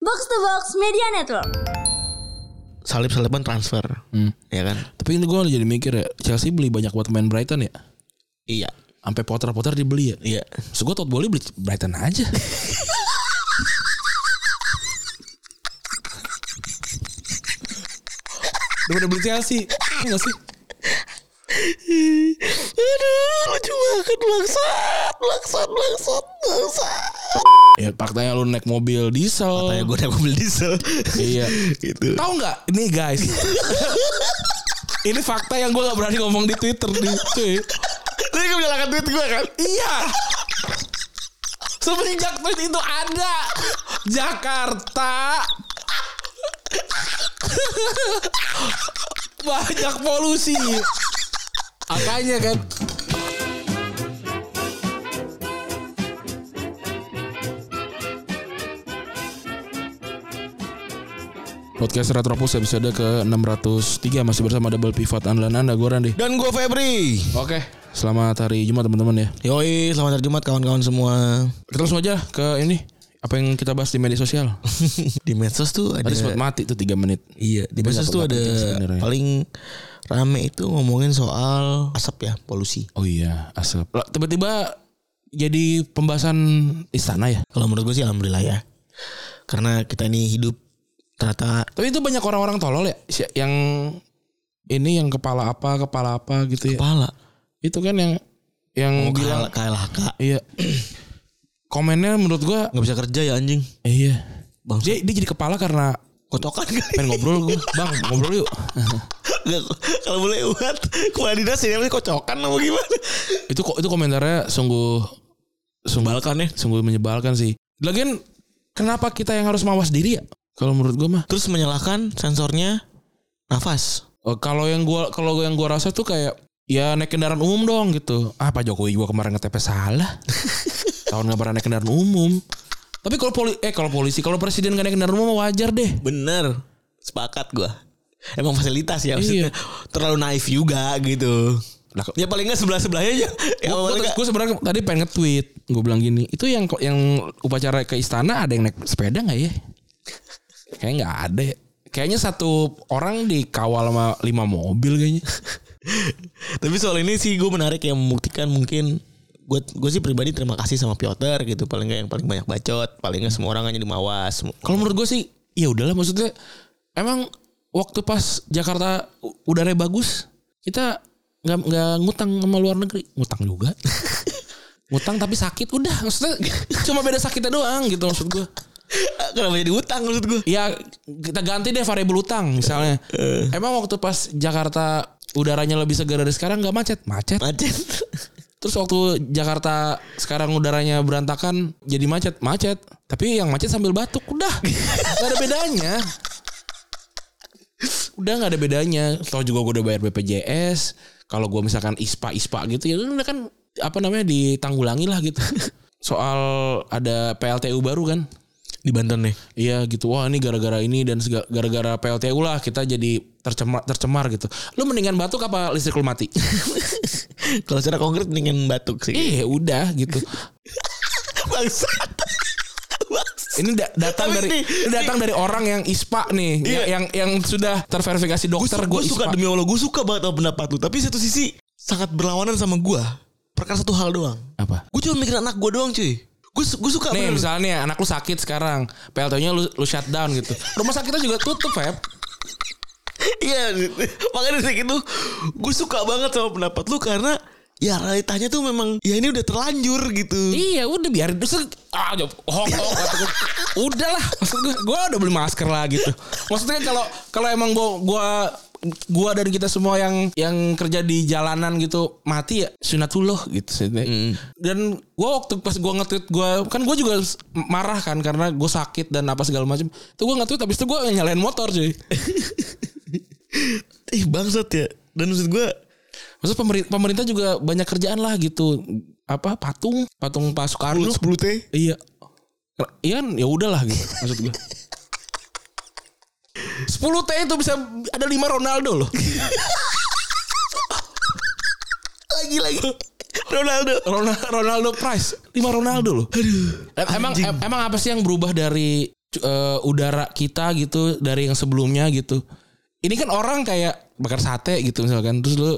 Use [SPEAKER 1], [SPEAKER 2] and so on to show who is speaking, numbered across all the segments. [SPEAKER 1] Box to Box Media Network.
[SPEAKER 2] Salib-saliban transfer.
[SPEAKER 3] Hmm.
[SPEAKER 2] Ya kan?
[SPEAKER 3] Tapi ini gue jadi mikir ya, Chelsea beli banyak buat pemain Brighton ya.
[SPEAKER 2] Iya.
[SPEAKER 3] Sampai Potter-Potter dibeli ya.
[SPEAKER 2] Iya.
[SPEAKER 3] So gue Todd Bowley beli Brighton aja. Daripada beli Chelsea. Iya nggak sih?
[SPEAKER 2] Aduh, lucu banget bangsat, bangsat, bangsat, bangsat.
[SPEAKER 3] Ya faktanya lu naik mobil diesel.
[SPEAKER 2] Kayak gue udah mobil diesel.
[SPEAKER 3] Iya.
[SPEAKER 2] gitu.
[SPEAKER 3] Tahu nggak? Ini guys. ini fakta yang gue gak berani ngomong di Twitter di cuy.
[SPEAKER 2] Tapi gue menyalahkan duit gue kan.
[SPEAKER 3] Iya. Semenjak tweet itu ada Jakarta banyak polusi. Makanya kan Podcast Retropus episode ke-603 Masih bersama Double Pivot Andalan Anda Gue Randy
[SPEAKER 2] Dan gue Febri.
[SPEAKER 3] Oke Selamat hari Jumat teman-teman ya
[SPEAKER 2] Yoi, selamat hari Jumat kawan-kawan semua.
[SPEAKER 3] Kita langsung aja ke ini apa yang kita bahas di media sosial.
[SPEAKER 2] di medsos tuh ada
[SPEAKER 3] Tadi sempat mati tuh 3 menit.
[SPEAKER 2] Iya, di
[SPEAKER 3] Tapi
[SPEAKER 2] medsos
[SPEAKER 3] nggak
[SPEAKER 2] tuh ada
[SPEAKER 3] penting sebenarnya.
[SPEAKER 2] paling rame itu ngomongin soal asap ya, polusi.
[SPEAKER 3] Oh iya, asap. Lah, Tiba-tiba jadi pembahasan istana ya.
[SPEAKER 2] Kalau menurut gue sih alhamdulillah ya. Karena kita ini hidup ternyata
[SPEAKER 3] Tapi itu banyak orang-orang tolol ya si- yang ini yang kepala apa, kepala Oh, apa gitu ya.
[SPEAKER 2] kepala.
[SPEAKER 3] Itu kan yang
[SPEAKER 2] Mau
[SPEAKER 3] yang bilang
[SPEAKER 2] KL- KLHK
[SPEAKER 3] iya. Komennya menurut gua
[SPEAKER 2] nggak bisa kerja ya anjing.
[SPEAKER 3] iya.
[SPEAKER 2] Bang,
[SPEAKER 3] Dia, dia jadi kepala karena
[SPEAKER 2] kocokan kali.
[SPEAKER 3] pengen ngobrol gua. Bang, ngobrol yuk.
[SPEAKER 2] Nggak, Kalau boleh uat kepala dinas ini namanya kocokan apa gimana?
[SPEAKER 3] itu kok itu komentarnya sungguh sungguh
[SPEAKER 2] Menyebalkan ya.
[SPEAKER 3] sungguh menyebalkan sih lagian kenapa kita yang harus mawas diri ya kalau menurut gue mah
[SPEAKER 2] Terus menyalahkan sensornya nafas.
[SPEAKER 3] Eh, kalau yang gua kalau yang gua rasa tuh kayak ya naik kendaraan umum dong gitu ah Pak Jokowi gua kemarin ngetepes salah tahun nggak pernah naik kendaraan umum tapi kalau poli eh kalau polisi kalau presiden gak naik kendaraan umum mah wajar deh
[SPEAKER 2] Bener, sepakat gua. Emang fasilitas ya maksudnya terlalu naif juga gitu.
[SPEAKER 3] Lah, kok-
[SPEAKER 2] ya paling nggak sebelah sebelahnya aja. Ya, paling nggak-
[SPEAKER 3] gue sebenarnya tadi pengen nge-tweet gue bilang gini itu yang yang upacara ke istana ada yang naik sepeda nggak ya kayaknya nggak ada ya. kayaknya satu orang dikawal sama lima mobil kayaknya
[SPEAKER 2] Tapi soal ini sih gue menarik yang membuktikan mungkin gue gue sih pribadi terima kasih sama Piotr gitu paling nggak yang paling banyak bacot paling nggak semua orang hanya di mawas
[SPEAKER 3] kalau menurut gue sih ya udahlah maksudnya emang waktu pas Jakarta u- udaranya bagus kita nggak nggak ngutang sama luar negeri ngutang juga ngutang tapi sakit udah maksudnya cuma beda sakitnya doang gitu maksud gue
[SPEAKER 2] kenapa jadi utang maksud gue
[SPEAKER 3] ya kita ganti deh variabel utang misalnya. Emang waktu pas Jakarta udaranya lebih segar dari sekarang nggak macet? Macet.
[SPEAKER 2] macet
[SPEAKER 3] Terus waktu Jakarta sekarang udaranya berantakan jadi macet? Macet. Tapi yang macet sambil batuk udah. Gak ada bedanya. Udah nggak ada bedanya. Tahu juga gue udah bayar BPJS. Kalau gue misalkan ispa ispa gitu ya udah kan apa namanya ditanggulangi lah gitu. Soal ada PLTU baru kan?
[SPEAKER 2] di Banten nih
[SPEAKER 3] Iya gitu. Wah ini gara-gara ini dan sega- gara-gara PLTU lah kita jadi tercemar tercemar gitu. Lu mendingan batuk apa listrik lu mati?
[SPEAKER 2] kalau secara konkret mendingan batuk sih
[SPEAKER 3] eh udah gitu.
[SPEAKER 2] bangsat Bangsat.
[SPEAKER 3] Ini da- datang
[SPEAKER 2] Tapi
[SPEAKER 3] dari
[SPEAKER 2] ini-
[SPEAKER 3] ini datang dari orang yang ispa nih,
[SPEAKER 2] Iya.
[SPEAKER 3] yang yang sudah terverifikasi dokter
[SPEAKER 2] gue
[SPEAKER 3] gue
[SPEAKER 2] suka
[SPEAKER 3] ispa.
[SPEAKER 2] demi Allah gue suka banget sama pendapat lu tapi satu sisi sangat berlawanan sama gue perkara satu hal doang
[SPEAKER 3] Apa?
[SPEAKER 2] gue cuma mikirin anak gue doang cuy gue su- gue suka
[SPEAKER 3] Nih
[SPEAKER 2] bener.
[SPEAKER 3] misalnya nih, anak lu sakit sekarang, PLTU-nya lu, lu shutdown gitu. Rumah sakitnya juga tutup, Feb.
[SPEAKER 2] Iya, makanya dari itu gue suka banget sama pendapat lu karena ya realitanya tuh memang ya ini udah terlanjur gitu.
[SPEAKER 3] Iya udah biarin Terus, ah, jawab, hok, hok, kata gue. Udah lah Maksud gue Gue udah beli masker lah gitu Maksudnya kalau Kalau emang gue Gue gua dan kita semua yang yang kerja di jalanan gitu mati ya sunatullah gitu maksudnya. dan gue waktu pas gue nge-tweet gue kan gue juga s- marah kan karena gue sakit dan apa segala macam itu gue nge-tweet habis itu gue nyalain motor cuy
[SPEAKER 2] Ih bangsat ya. Dan maksud gue
[SPEAKER 3] maksud pemerintah, pemerintah juga banyak kerjaan lah gitu apa patung patung Pak Soekarno
[SPEAKER 2] 10 T.
[SPEAKER 3] Iya. Ker- Iya kan ya udahlah gitu maksud gue. 10 T itu bisa ada 5 Ronaldo loh.
[SPEAKER 2] Lagi lagi. Ronaldo.
[SPEAKER 3] Ronaldo, Ronaldo Price, 5 Ronaldo loh. Aduh. Emang em- emang apa sih yang berubah dari cu- eh, udara kita gitu dari yang sebelumnya gitu. Ini kan orang kayak bakar sate gitu misalkan terus lu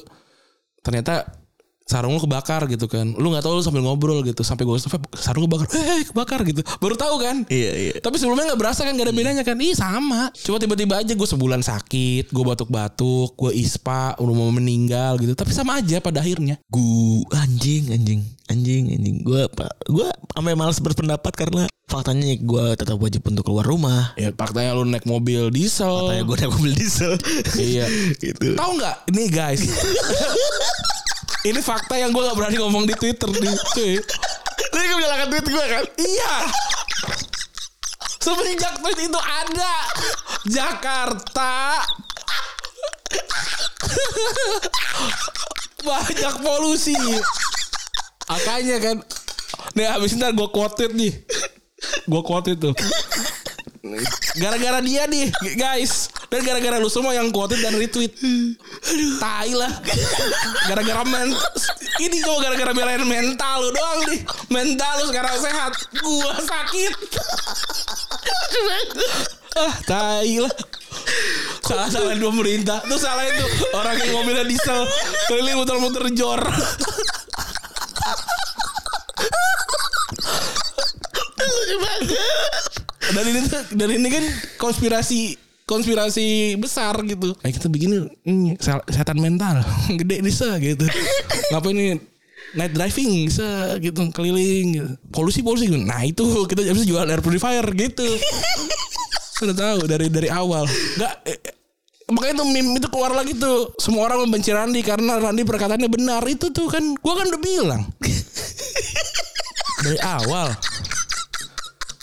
[SPEAKER 3] ternyata sarung lu kebakar gitu kan. Lu nggak tahu lu sambil ngobrol gitu sampai gue sarung kebakar, eh kebakar gitu. Baru tahu kan?
[SPEAKER 2] Iya, iya.
[SPEAKER 3] Tapi sebelumnya nggak berasa kan gak ada bedanya kan? Ih sama. Cuma tiba-tiba aja gue sebulan sakit, gue batuk-batuk, gue ispa, udah mau meninggal gitu. Tapi sama aja pada akhirnya.
[SPEAKER 2] Gu anjing anjing anjing anjing gue gue sampai malas berpendapat karena faktanya gue tetap wajib untuk keluar rumah
[SPEAKER 3] Ya faktanya lu naik mobil diesel.
[SPEAKER 2] kayak gue naik mobil diesel
[SPEAKER 3] Iya.
[SPEAKER 2] gitu
[SPEAKER 3] Tahu nggak? Ini guys. ini fakta yang gue gak berani ngomong di Twitter nih, cuy.
[SPEAKER 2] lu yang menyalahkan tweet gue kan
[SPEAKER 3] Iya. Semenjak tweet itu ada Jakarta banyak polusi. Makanya kan. Nih habis ntar gue quote tweet nih. Gue quote itu. Gara-gara dia nih guys Dan gara-gara lu semua yang quote dan retweet Tai lah Gara-gara men Ini cuma gara-gara belain mental lu doang nih Mental lu sekarang sehat Gua sakit Ah tai lah Salah salahin pemerintah Tuh salah itu Orang yang mobilnya diesel Keliling muter-muter jor dan ini tuh- dan ini kan konspirasi konspirasi besar gitu. Kayak kita begini ini sel- setan mental gede nih se gitu. Ngapain ini night driving se gitu keliling gitu. Polusi polusi gitu. Nah itu kita bisa jual air purifier gitu. Sudah tahu dari dari awal. Enggak makanya tuh meme itu keluar lagi tuh semua orang membenci Randi karena Randi perkataannya benar itu tuh kan gua kan udah bilang dari awal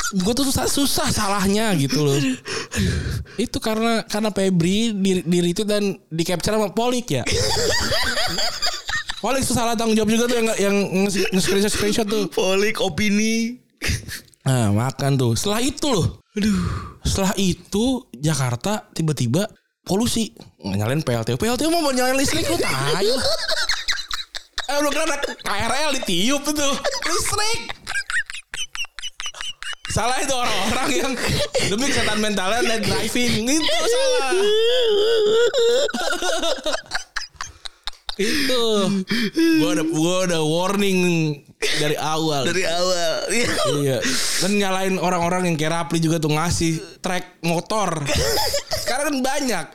[SPEAKER 3] gue tuh susah, susah salahnya gitu loh itu karena karena Febri di, di retweet dan di capture sama Polik ya Polik tuh salah tanggung jawab juga tuh yang yang nge-screenshot screenshot tuh
[SPEAKER 2] polik opini
[SPEAKER 3] Nah, makan tuh. Setelah itu loh. Aduh. Setelah itu Jakarta tiba-tiba polusi. Nyalain PLTU. PLTU mau mau nyalain listrik lu tai. lu. Eh lu kira ada KRL ditiup itu. Listrik. Salah itu orang-orang yang demi kesehatan mentalnya dan driving itu salah. itu gua ada gua ada warning dari awal
[SPEAKER 2] dari awal Iya.
[SPEAKER 3] Iya. Dan nyalain orang-orang yang kayak Rapli juga tuh ngasih track motor. Sekarang kan banyak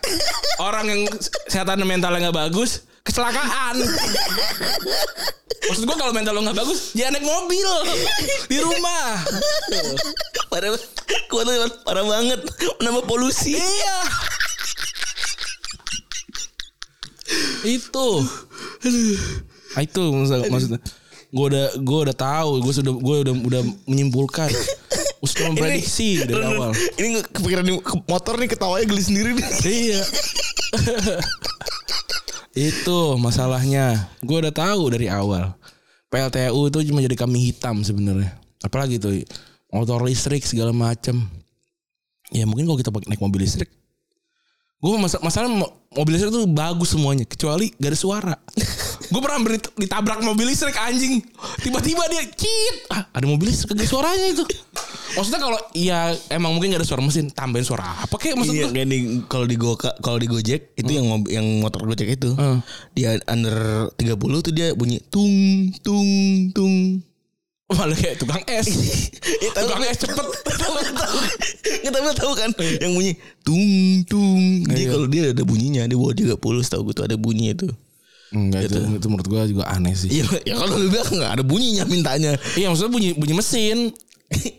[SPEAKER 3] orang yang kesehatan mentalnya nggak bagus, kecelakaan. Maksud gua kalau mental lo nggak bagus, jangan naik mobil di rumah.
[SPEAKER 2] parah gue tuh parah banget menambah polusi
[SPEAKER 3] Iya. Itu. Ah, itu maksud- maksudnya. Gue udah gue udah tahu, gue sudah gue udah udah menyimpulkan. Gua sudah memprediksi dari
[SPEAKER 2] Run, Run.
[SPEAKER 3] awal.
[SPEAKER 2] ini nge- kepikiran di ke- motor nih ketawanya geli sendiri nih
[SPEAKER 3] Iya. itu masalahnya. Gue udah tahu dari awal. PLTU itu cuma jadi kami hitam sebenarnya. Apalagi tuh motor listrik segala macem. Ya mungkin kalau kita pakai naik mobil listrik. Gue masa masalah mo- mobil listrik tuh bagus semuanya kecuali gak ada suara. gue pernah beri- ditabrak mobil listrik anjing. Tiba-tiba dia cit. Ah, ada mobil listrik ada suaranya itu. Maksudnya kalau ya emang mungkin gak ada suara mesin tambahin suara apa kek maksud
[SPEAKER 2] Iya
[SPEAKER 3] gua?
[SPEAKER 2] kayak di kalau di Goka kalau di Gojek itu yang mob- yang motor Gojek itu
[SPEAKER 3] Hmm.
[SPEAKER 2] dia under 30 tuh dia bunyi tung tung tung.
[SPEAKER 3] Malah kayak tukang es. tukang es cepet.
[SPEAKER 2] Kita tahu tahu kan yang bunyi tung tung. Jadi
[SPEAKER 3] Iya.
[SPEAKER 2] kalau dia ada bunyinya dia bawa 30 tahu gue tuh ada bunyinya itu.
[SPEAKER 3] Enggak itu, itu menurut gua juga aneh sih.
[SPEAKER 2] Iya ya kalau lu bilang nggak ada bunyinya mintanya.
[SPEAKER 3] Iya maksudnya bunyi bunyi mesin.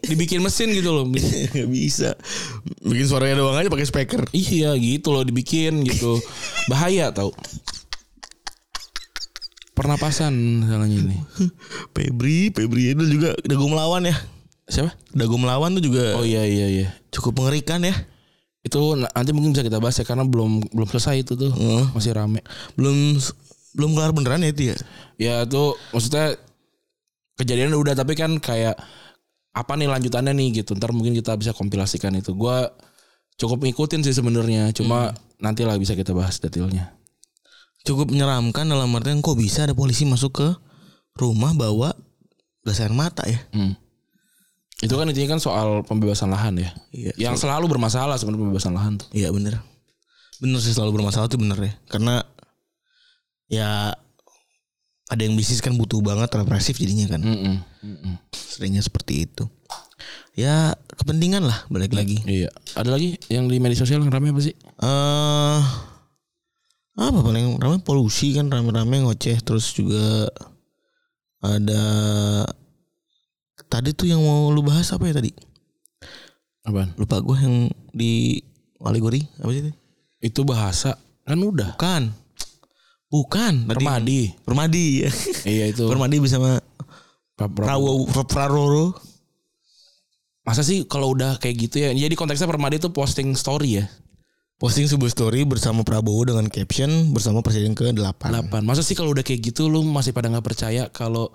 [SPEAKER 3] Dibikin mesin gitu loh.
[SPEAKER 2] Gak bisa Bikin suaranya doang aja pakai speaker
[SPEAKER 3] iya gitu loh dibikin gitu. Bahaya tau. Pernapasan salahnya ini.
[SPEAKER 2] Febri Febri itu juga Dago melawan ya
[SPEAKER 3] Siapa?
[SPEAKER 2] Dago melawan tuh juga
[SPEAKER 3] Oh iya iya iya.
[SPEAKER 2] Cukup mengerikan ya
[SPEAKER 3] Itu na- nanti mungkin bisa kita bahas ya karena belum belum selesai itu tuh.
[SPEAKER 2] Hmm.
[SPEAKER 3] Masih rame.
[SPEAKER 2] Belum Belum kelar beneran ya itu ya
[SPEAKER 3] Ya itu maksudnya kejadian udah tapi kan kayak apa nih lanjutannya nih gitu. Ntar mungkin kita bisa kompilasikan itu. Gua cukup ngikutin sih sebenarnya. Cuma nanti lah bisa kita bahas detailnya.
[SPEAKER 2] Cukup menyeramkan dalam artian Kok bisa ada polisi masuk ke Rumah bawa Gas air mata ya
[SPEAKER 3] Hmm. Itu kan intinya kan soal pembebasan lahan ya.
[SPEAKER 2] Iya.
[SPEAKER 3] Yang selalu bermasalah sebenarnya pembebasan lahan tuh.
[SPEAKER 2] Iya bener Bener sih selalu bermasalah tuh bener ya Karena Ya Ada yang bisnis kan butuh banget represif jadinya kan
[SPEAKER 3] Mm-mm. Mm-mm.
[SPEAKER 2] Seringnya seperti itu Ya kepentingan lah balik lagi
[SPEAKER 3] Iya. Ada lagi yang di media sosial yang ramai apa sih?
[SPEAKER 2] eh Apa paling rame polusi kan rame-rame ngoceh Terus juga Ada Tadi tuh yang mau lu bahas apa ya tadi
[SPEAKER 3] Apaan?
[SPEAKER 2] Lupa gue yang di Waligori Apa sih itu
[SPEAKER 3] Itu bahasa kan udah.
[SPEAKER 2] Bukan Bukan Tadi-
[SPEAKER 3] Permadi.
[SPEAKER 2] Permadi ya.
[SPEAKER 3] iya itu.
[SPEAKER 2] Permadi bersama
[SPEAKER 3] Pra- pra-
[SPEAKER 2] Prawo Praroro.
[SPEAKER 3] Masa sih kalau udah kayak gitu ya. Jadi konteksnya Permadi itu posting story ya.
[SPEAKER 2] Posting sebuah story bersama Prabowo dengan caption bersama presiden ke-8.
[SPEAKER 3] 8. Masa sih kalau udah kayak gitu lu masih pada nggak percaya kalau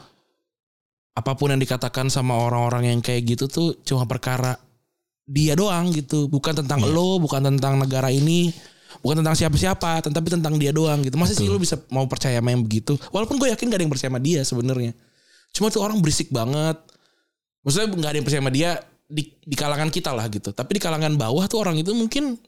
[SPEAKER 3] apapun yang dikatakan sama orang-orang yang kayak gitu tuh cuma perkara dia doang gitu, bukan tentang lo, bukan tentang negara ini, bukan tentang siapa-siapa, tetapi tentang dia doang gitu. Masa sih lu bisa mau percaya sama yang begitu? Walaupun gue yakin gak ada yang percaya sama dia sebenarnya. Cuma tuh orang berisik banget. Maksudnya nggak ada yang percaya sama dia di, di kalangan kita lah gitu. Tapi di kalangan bawah tuh orang itu mungkin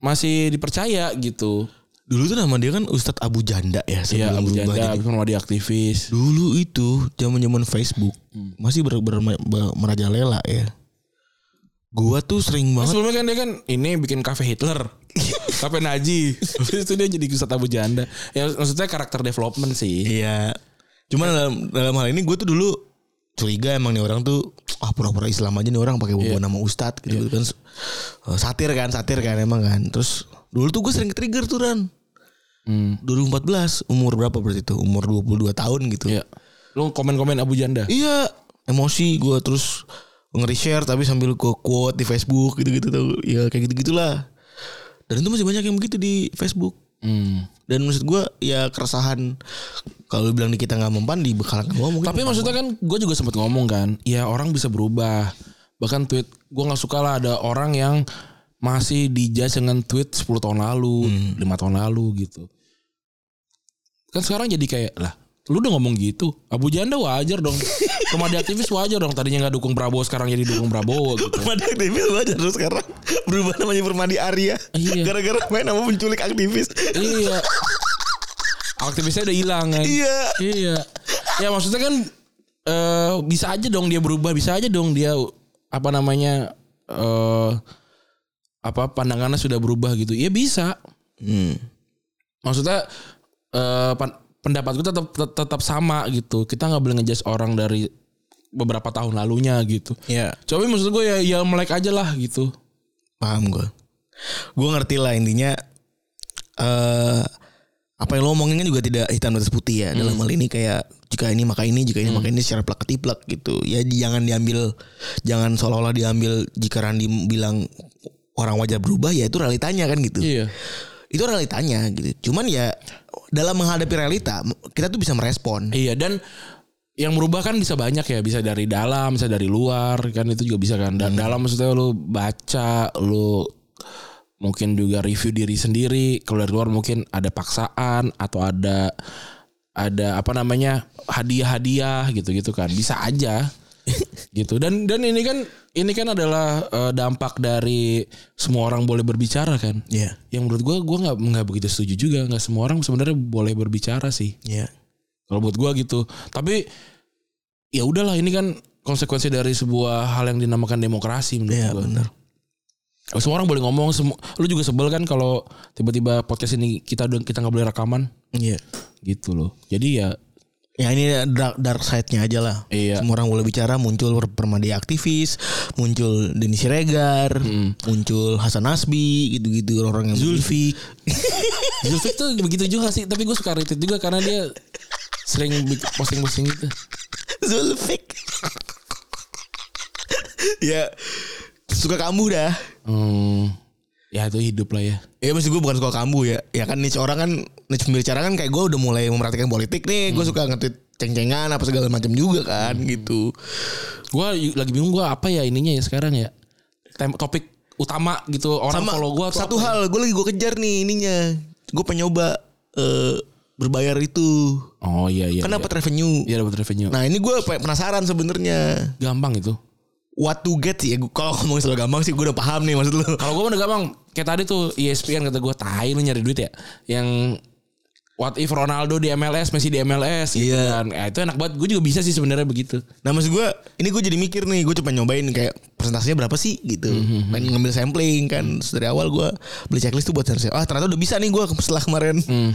[SPEAKER 3] masih dipercaya gitu.
[SPEAKER 2] Dulu tuh nama dia kan Ustadz Abu Janda ya
[SPEAKER 3] Iya,
[SPEAKER 2] sebelum
[SPEAKER 3] Abu
[SPEAKER 2] berubah
[SPEAKER 3] Janda,
[SPEAKER 2] jadi-
[SPEAKER 3] Abu Permadi aktivis.
[SPEAKER 2] Dulu itu zaman-zaman Facebook masih ber, ber- ber- merajalela ya. Gua tuh sering
[SPEAKER 3] Nah,
[SPEAKER 2] banget
[SPEAKER 3] sebelumnya kan dia kan ini bikin kafe Hitler, kafe Nazi. Habis itu dia jadi Ustadz Abu Janda. Ya maksudnya karakter development sih.
[SPEAKER 2] Iya. Cuman dalam dalam hal ini gue tuh dulu curiga emang nih orang tuh ah pura-pura Islam aja nih orang pakai bawa nama ustad gitu kan Eh, satir kan satir kan emang kan terus dulu tuh gue sering trigger tuh Ran
[SPEAKER 3] Hmm.
[SPEAKER 2] 2014 umur berapa berarti itu umur 22 tahun gitu
[SPEAKER 3] Iya. Lu komen-komen Abu Janda.
[SPEAKER 2] iya emosi gue terus nge-share tapi sambil gue quote di Facebook gitu-gitu tuh ya kayak gitu-gitulah dan itu masih banyak yang begitu di Facebook
[SPEAKER 3] Hmm.
[SPEAKER 2] dan maksud gue ya keresahan kalau lu bilang di kita nggak mempan di bekal gua mungkin
[SPEAKER 3] Tapi maksudnya kan gue juga sempat ngomong kan, ya orang bisa berubah. Bahkan tweet gue nggak suka lah ada orang yang masih dijudge dengan tweet 10 tahun lalu, lima tahun lalu gitu. Kan sekarang jadi kayak lah, lu udah ngomong gitu, Abu Janda wajar dong. Kemadi aktivis wajar dong, tadinya nggak dukung Prabowo sekarang jadi dukung Prabowo gitu.
[SPEAKER 2] Permadi aktivis lu aja terus sekarang berubah namanya Permadi Arya
[SPEAKER 3] Iya.
[SPEAKER 2] gara-gara main sama penculik aktivis
[SPEAKER 3] iya. Aktivisnya udah hilang kan.
[SPEAKER 2] iya
[SPEAKER 3] iya. Ya maksudnya kan eh bisa aja dong dia berubah, bisa aja dong dia apa namanya eh apa pandangannya sudah berubah gitu. Ya bisa.
[SPEAKER 2] Hmm.
[SPEAKER 3] Maksudnya eh pan- pendapat gue tetap tet- tetap sama gitu. Kita nggak boleh ngejudge orang dari beberapa tahun lalunya gitu.
[SPEAKER 2] iya
[SPEAKER 3] Coba maksud gue ya ya melek aja lah gitu.
[SPEAKER 2] paham gue gue ngerti lah intinya eh apa yang lo omongin kan juga tidak hitam di atas putih ya dalam hal ini kayak jika ini maka ini jika ini maka ini secara plak ketiplak gitu ya jangan diambil jangan seolah-olah diambil jika Randi bilang orang wajah berubah ya itu realitanya kan gitu
[SPEAKER 3] Iya.
[SPEAKER 2] itu realitanya gitu cuman ya dalam menghadapi realita kita tuh bisa merespon
[SPEAKER 3] Iya dan yang berubah kan bisa banyak ya, bisa dari dalam, bisa dari luar, kan itu juga bisa kan. Dan dalam maksudnya lu baca, lu mungkin juga review diri sendiri, kalau dari luar mungkin ada paksaan atau ada ada apa namanya hadiah-hadiah gitu-gitu kan. Bisa aja gitu. Dan dan ini kan ini kan adalah eh, dampak dari semua orang boleh berbicara kan.
[SPEAKER 2] Iya.
[SPEAKER 3] Yang menurut gua gua nggak nggak begitu setuju juga, nggak semua orang sebenarnya boleh berbicara sih
[SPEAKER 2] ya
[SPEAKER 3] kalau buat gua gitu tapi ya udahlah ini kan konsekuensi dari sebuah hal yang dinamakan demokrasi menurut
[SPEAKER 2] ya
[SPEAKER 3] gua.
[SPEAKER 2] benar
[SPEAKER 3] semua orang boleh ngomong semua lu juga sebel kan kalau tiba-tiba podcast ini kita udah kita nggak boleh rekaman
[SPEAKER 2] iya
[SPEAKER 3] gitu loh jadi ya
[SPEAKER 2] ya ini dark, dark side-nya aja lah
[SPEAKER 3] Iya.
[SPEAKER 2] semua orang boleh bicara muncul per- permadi aktivis muncul Denny Siregar muncul Hasan Asbi gitu-gitu orang-orang yang Zulfi
[SPEAKER 3] Zulfik tuh begitu juga sih tapi gue suka retweet juga karena dia sering bik- posting-posting gitu
[SPEAKER 2] Zulfik ya suka kamu dah
[SPEAKER 3] hmm, ya itu hidup lah ya
[SPEAKER 2] Ya maksud gue bukan suka kamu ya Ya kan niche orang kan Niche pembicara kan kayak gue udah mulai memperhatikan politik nih Gue suka nge-tweet ceng-cengan apa segala macam juga kan gitu
[SPEAKER 3] gua y- lagi bingung gua apa ya ininya ya sekarang ya Tem- topik utama gitu orang
[SPEAKER 2] Sama
[SPEAKER 3] follow gue
[SPEAKER 2] satu hal gue lagi gue kejar nih ininya Gue pengen nyoba eh, berbayar itu.
[SPEAKER 3] Oh iya iya.
[SPEAKER 2] Kan
[SPEAKER 3] Kenapa?
[SPEAKER 2] dapat revenue.
[SPEAKER 3] Iya dapat revenue.
[SPEAKER 2] Nah ini gue penasaran sebenarnya
[SPEAKER 3] Gampang itu.
[SPEAKER 2] What to get sih ya gua- Kalau ngomongin soal gampang sih gue udah paham nih maksud lu
[SPEAKER 3] Kalau gue mah udah gampang. Kayak tadi tuh E ESPN kata gue tai lu nyari duit ya. Yang what if Ronaldo di MLS, Messi di MLS gitu
[SPEAKER 2] Iya.
[SPEAKER 3] kan. Ya, itu enak banget. Gue juga bisa sih sebenarnya begitu.
[SPEAKER 2] Nah maksud gue Ini gue jadi mikir nih Gue coba nyobain kayak Persentasenya berapa sih gitu
[SPEAKER 3] Mhm,
[SPEAKER 2] Main ngambil sampling kan Terus Dari awal gue Beli checklist tuh buat sampling Ah ternyata udah bisa nih gue Setelah kemarin
[SPEAKER 3] Hmm.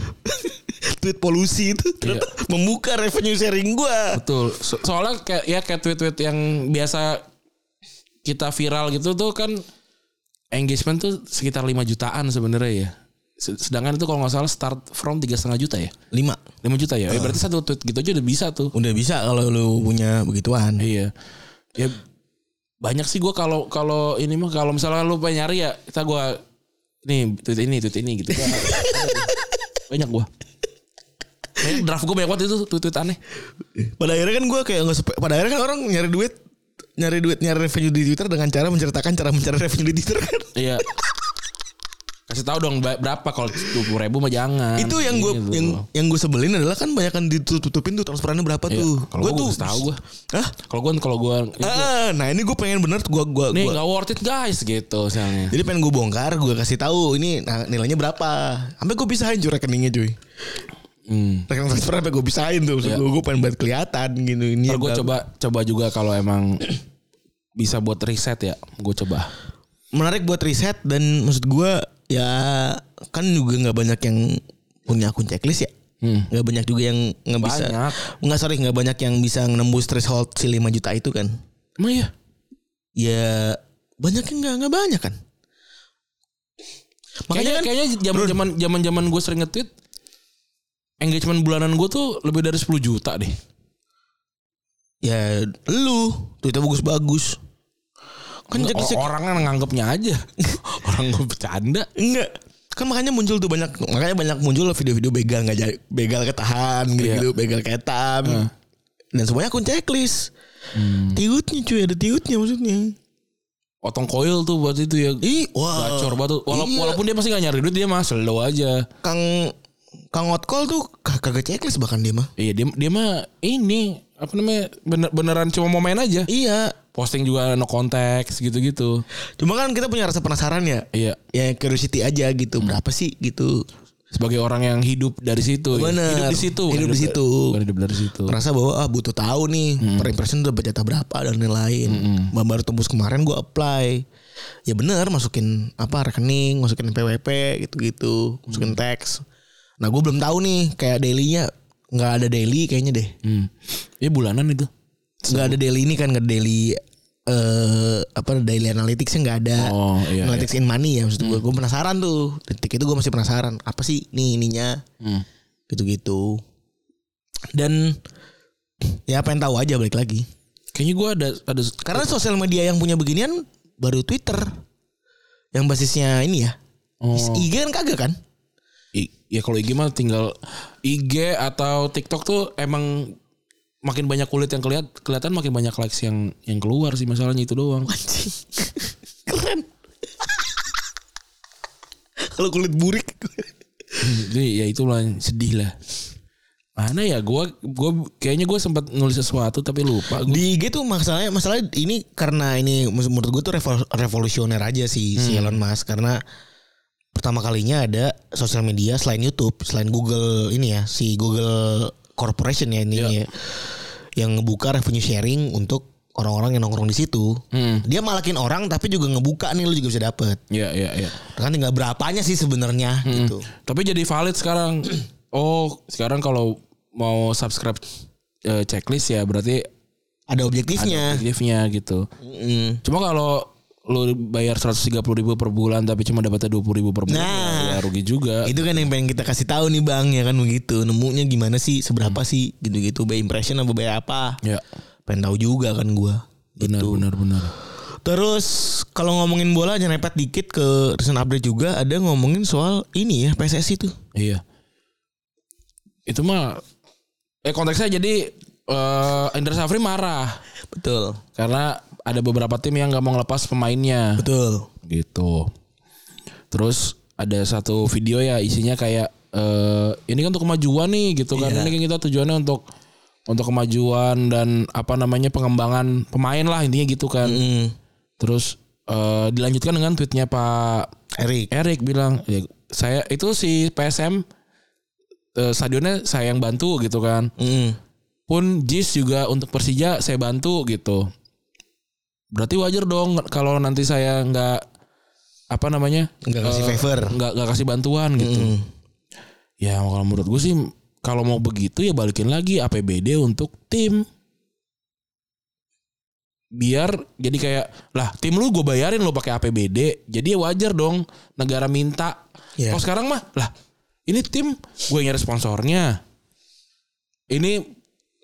[SPEAKER 2] Tweet polusi itu Ternyata
[SPEAKER 3] Iya.
[SPEAKER 2] membuka revenue sharing gue
[SPEAKER 3] Betul. So- soalnya kayak ya kayak tweet-tweet yang biasa kita viral gitu tuh kan engagement tuh sekitar 5 jutaan sebenarnya ya. Se- Sedangkan itu kalau nggak salah start from tiga setengah juta ya.
[SPEAKER 2] 5
[SPEAKER 3] 5 juta ya. Ya, berarti satu tweet gitu aja udah bisa tuh.
[SPEAKER 2] Udah bisa kalau lu punya begituan
[SPEAKER 3] Iya. Ya banyak sih gua kalau kalau ini mah kalau misalnya lu pengen nyari ya kita gua nih tweet ini tweet ini gitu. Gua- banyak gua. Banyak draft gua banyak banget itu tweet-tweet aneh. Eh.
[SPEAKER 2] Pada akhirnya kan gue kayak nggak sepe- Pada akhirnya kan orang nyari duit Nyari duit Nyari revenue di Twitter Dengan cara menceritakan Cara mencari revenue di Twitter kan
[SPEAKER 3] Iya. Kasih tahu dong ba- berapa kalau dua ribu mah jangan.
[SPEAKER 2] itu yang gue
[SPEAKER 3] Gitu.
[SPEAKER 2] yang yang gue sebelin adalah kan banyak kan ditutupin tuh transferannya berapa
[SPEAKER 3] Iya,
[SPEAKER 2] tuh
[SPEAKER 3] kalau
[SPEAKER 2] Gua
[SPEAKER 3] gua
[SPEAKER 2] tuh
[SPEAKER 3] harus tahu gua. Iya,
[SPEAKER 2] Hah?
[SPEAKER 3] kalau gue kalau gue
[SPEAKER 2] Ah, nah ini gue pengen bener gue gua,
[SPEAKER 3] nih
[SPEAKER 2] gua-
[SPEAKER 3] nggak worth it guys gitu misalnya.
[SPEAKER 2] jadi pengen gue bongkar gue kasih tahu ini nah, nilainya berapa sampai gue pisahin cuy rekeningnya cuy
[SPEAKER 3] Hmm.
[SPEAKER 2] rekening transfer sampai gue pisahin tuh maksud gue gue pengen buat kelihatan gitu ini
[SPEAKER 3] Iya. Ntar gue
[SPEAKER 2] berapa.
[SPEAKER 3] coba coba juga kalau emang bisa buat riset ya, gue coba.
[SPEAKER 2] menarik buat riset dan maksud gue ya kan juga nggak banyak yang punya akun checklist ya
[SPEAKER 3] Hmm.
[SPEAKER 2] nggak banyak juga yang nggak bisa
[SPEAKER 3] Banyak.
[SPEAKER 2] nggak sorry nggak banyak yang bisa nembus threshold si 5 juta itu kan
[SPEAKER 3] Emang iya.
[SPEAKER 2] ya banyaknya nggak nggak banyak kan
[SPEAKER 3] Kayaknya
[SPEAKER 2] makanya kan
[SPEAKER 3] kayaknya zaman zaman zaman zaman gue sering nge-tweet engagement bulanan gue tuh lebih dari 10 juta deh.
[SPEAKER 2] ya lu tweetnya bagus bagus kan
[SPEAKER 3] Kan
[SPEAKER 2] jadi sek-
[SPEAKER 3] orang kan nganggepnya aja. orang gue bercanda.
[SPEAKER 2] enggak kan makanya muncul tuh banyak makanya banyak muncul video-video begal nggak jadi begal ketahan gitu, gitu
[SPEAKER 3] Iya.
[SPEAKER 2] begal ketam
[SPEAKER 3] Ah.
[SPEAKER 2] dan semuanya akun checklist
[SPEAKER 3] Hmm.
[SPEAKER 2] tiutnya cuy ada tiutnya maksudnya
[SPEAKER 3] Otong koil tuh buat itu ya.
[SPEAKER 2] ih wah
[SPEAKER 3] Gacor banget tuh. Wala-
[SPEAKER 2] Iya.
[SPEAKER 3] Walaupun dia masih gak nyari duit dia mah slow aja.
[SPEAKER 2] kang kang otkol tuh kag- kagak checklist bahkan dia mah
[SPEAKER 3] Iya dia, dia mah ini apa namanya bener, beneran cuma mau main aja.
[SPEAKER 2] iya
[SPEAKER 3] Posting juga no konteks gitu-gitu.
[SPEAKER 2] cuma kan kita punya rasa penasaran ya
[SPEAKER 3] Iya.
[SPEAKER 2] ya curiosity aja gitu berapa sih gitu
[SPEAKER 3] Sebagai orang yang hidup dari situ. ya.
[SPEAKER 2] Bener.
[SPEAKER 3] Hidup di situ. bukan
[SPEAKER 2] Hidup di situ.
[SPEAKER 3] bukan hidup dari situ.
[SPEAKER 2] ngerasa bahwa ah butuh tahu nih per impression tuh dapat jatah berapa dan lain-lain Bah, baru tembus kemarin gue apply ya bener masukin apa rekening masukin PWP gitu-gitu masukin teks nah gue belum tahu nih kayak dailynya nggak ada daily kayaknya deh
[SPEAKER 3] Hmm. Ya bulanan itu.
[SPEAKER 2] nggak ada daily ini kan nggak ada daily eh apa daily analyticsnya nggak ada
[SPEAKER 3] Oh, iya, Mm.
[SPEAKER 2] analytics in money ya maksud gue gue penasaran tuh detik itu gue masih penasaran apa sih nih ininya
[SPEAKER 3] Hmm.
[SPEAKER 2] gitu-gitu dan ya pengen tahu aja balik lagi
[SPEAKER 3] Kayaknya gue ada ada
[SPEAKER 2] karena sosial media yang punya beginian baru Twitter yang basisnya ini ya
[SPEAKER 3] Oh.
[SPEAKER 2] IG kan kagak kan
[SPEAKER 3] I- ya kalau IG mah tinggal IG atau TikTok tuh emang makin banyak kulit yang kelihat kelihatan makin banyak likes yang yang keluar sih masalahnya itu doang.
[SPEAKER 2] anjing keren kalau kulit burik
[SPEAKER 3] Jadi ya itulah yang sedih lah. Mana ya gua gua kayaknya gua sempat nulis sesuatu tapi lupa gua.
[SPEAKER 2] di IG tuh masalahnya masalah ini karena ini menurut gue tuh revol- revolusioner aja sih si Elon Musk karena pertama kalinya ada sosial media selain YouTube selain Google ini ya si Google Corporation ya ini ya yang ngebuka revenue sharing untuk orang-orang yang nongkrong di situ
[SPEAKER 3] Hmm.
[SPEAKER 2] dia malakin orang tapi juga ngebuka nih lu juga bisa dapet
[SPEAKER 3] Ya ya ya.
[SPEAKER 2] kan tinggal berapanya sih sebenarnya gitu
[SPEAKER 3] Tapi jadi valid sekarang. Oh, sekarang kalau mau subscribe eh, checklist ya berarti
[SPEAKER 2] ada objektifnya
[SPEAKER 3] aktifnya gitu.
[SPEAKER 2] Mm.
[SPEAKER 3] Cuma kalau lu bayar 130 ribu per bulan tapi cuma dapatnya 20 ribu per bulan
[SPEAKER 2] Nah.
[SPEAKER 3] ya, ya rugi juga.
[SPEAKER 2] Itu kan yang pengen kita kasih tahu nih Bang ya kan begitu. Nemunya gimana sih? Seberapa sih? Gitu-gitu by impression apa by apa?
[SPEAKER 3] Ya,
[SPEAKER 2] Pengen tahu juga kan gua.
[SPEAKER 3] benar benar benar.
[SPEAKER 2] Terus kalau ngomongin bola aja nepet dikit ke recent update juga ada ngomongin soal ini ya PSSI tuh.
[SPEAKER 3] Iya. Itu mah eh konteksnya jadi eh Indra Safri marah
[SPEAKER 2] Betul.
[SPEAKER 3] karena ada beberapa tim yang nggak mau ngelepas pemainnya
[SPEAKER 2] Betul.
[SPEAKER 3] gitu. Terus ada satu video ya isinya kayak eh, ini kan untuk kemajuan nih gitu kan. Ini kan kita tujuannya untuk untuk kemajuan dan apa namanya pengembangan pemain lah intinya gitu kan.
[SPEAKER 2] Mm.
[SPEAKER 3] Terus eh, dilanjutkan dengan tweetnya Pak
[SPEAKER 2] Erik.
[SPEAKER 3] Erik bilang "Ya, saya itu si PSM eh, stadionnya saya yang bantu gitu kan
[SPEAKER 2] Mm.
[SPEAKER 3] pun Jis juga untuk Persija saya bantu gitu berarti wajar dong kalau nanti saya nggak apa namanya
[SPEAKER 2] Nggak kasih
[SPEAKER 3] eh,
[SPEAKER 2] favor.
[SPEAKER 3] nggak nggak kasih bantuan gitu
[SPEAKER 2] Mm.
[SPEAKER 3] ya kalau menurut gue sih kalau mau begitu ya balikin lagi APBD untuk tim biar jadi kayak lah tim lu gue bayarin lo pakai APBD jadi ya wajar dong negara minta
[SPEAKER 2] Iya.
[SPEAKER 3] kalau sekarang mah lah ini tim gue nyari sponsornya ini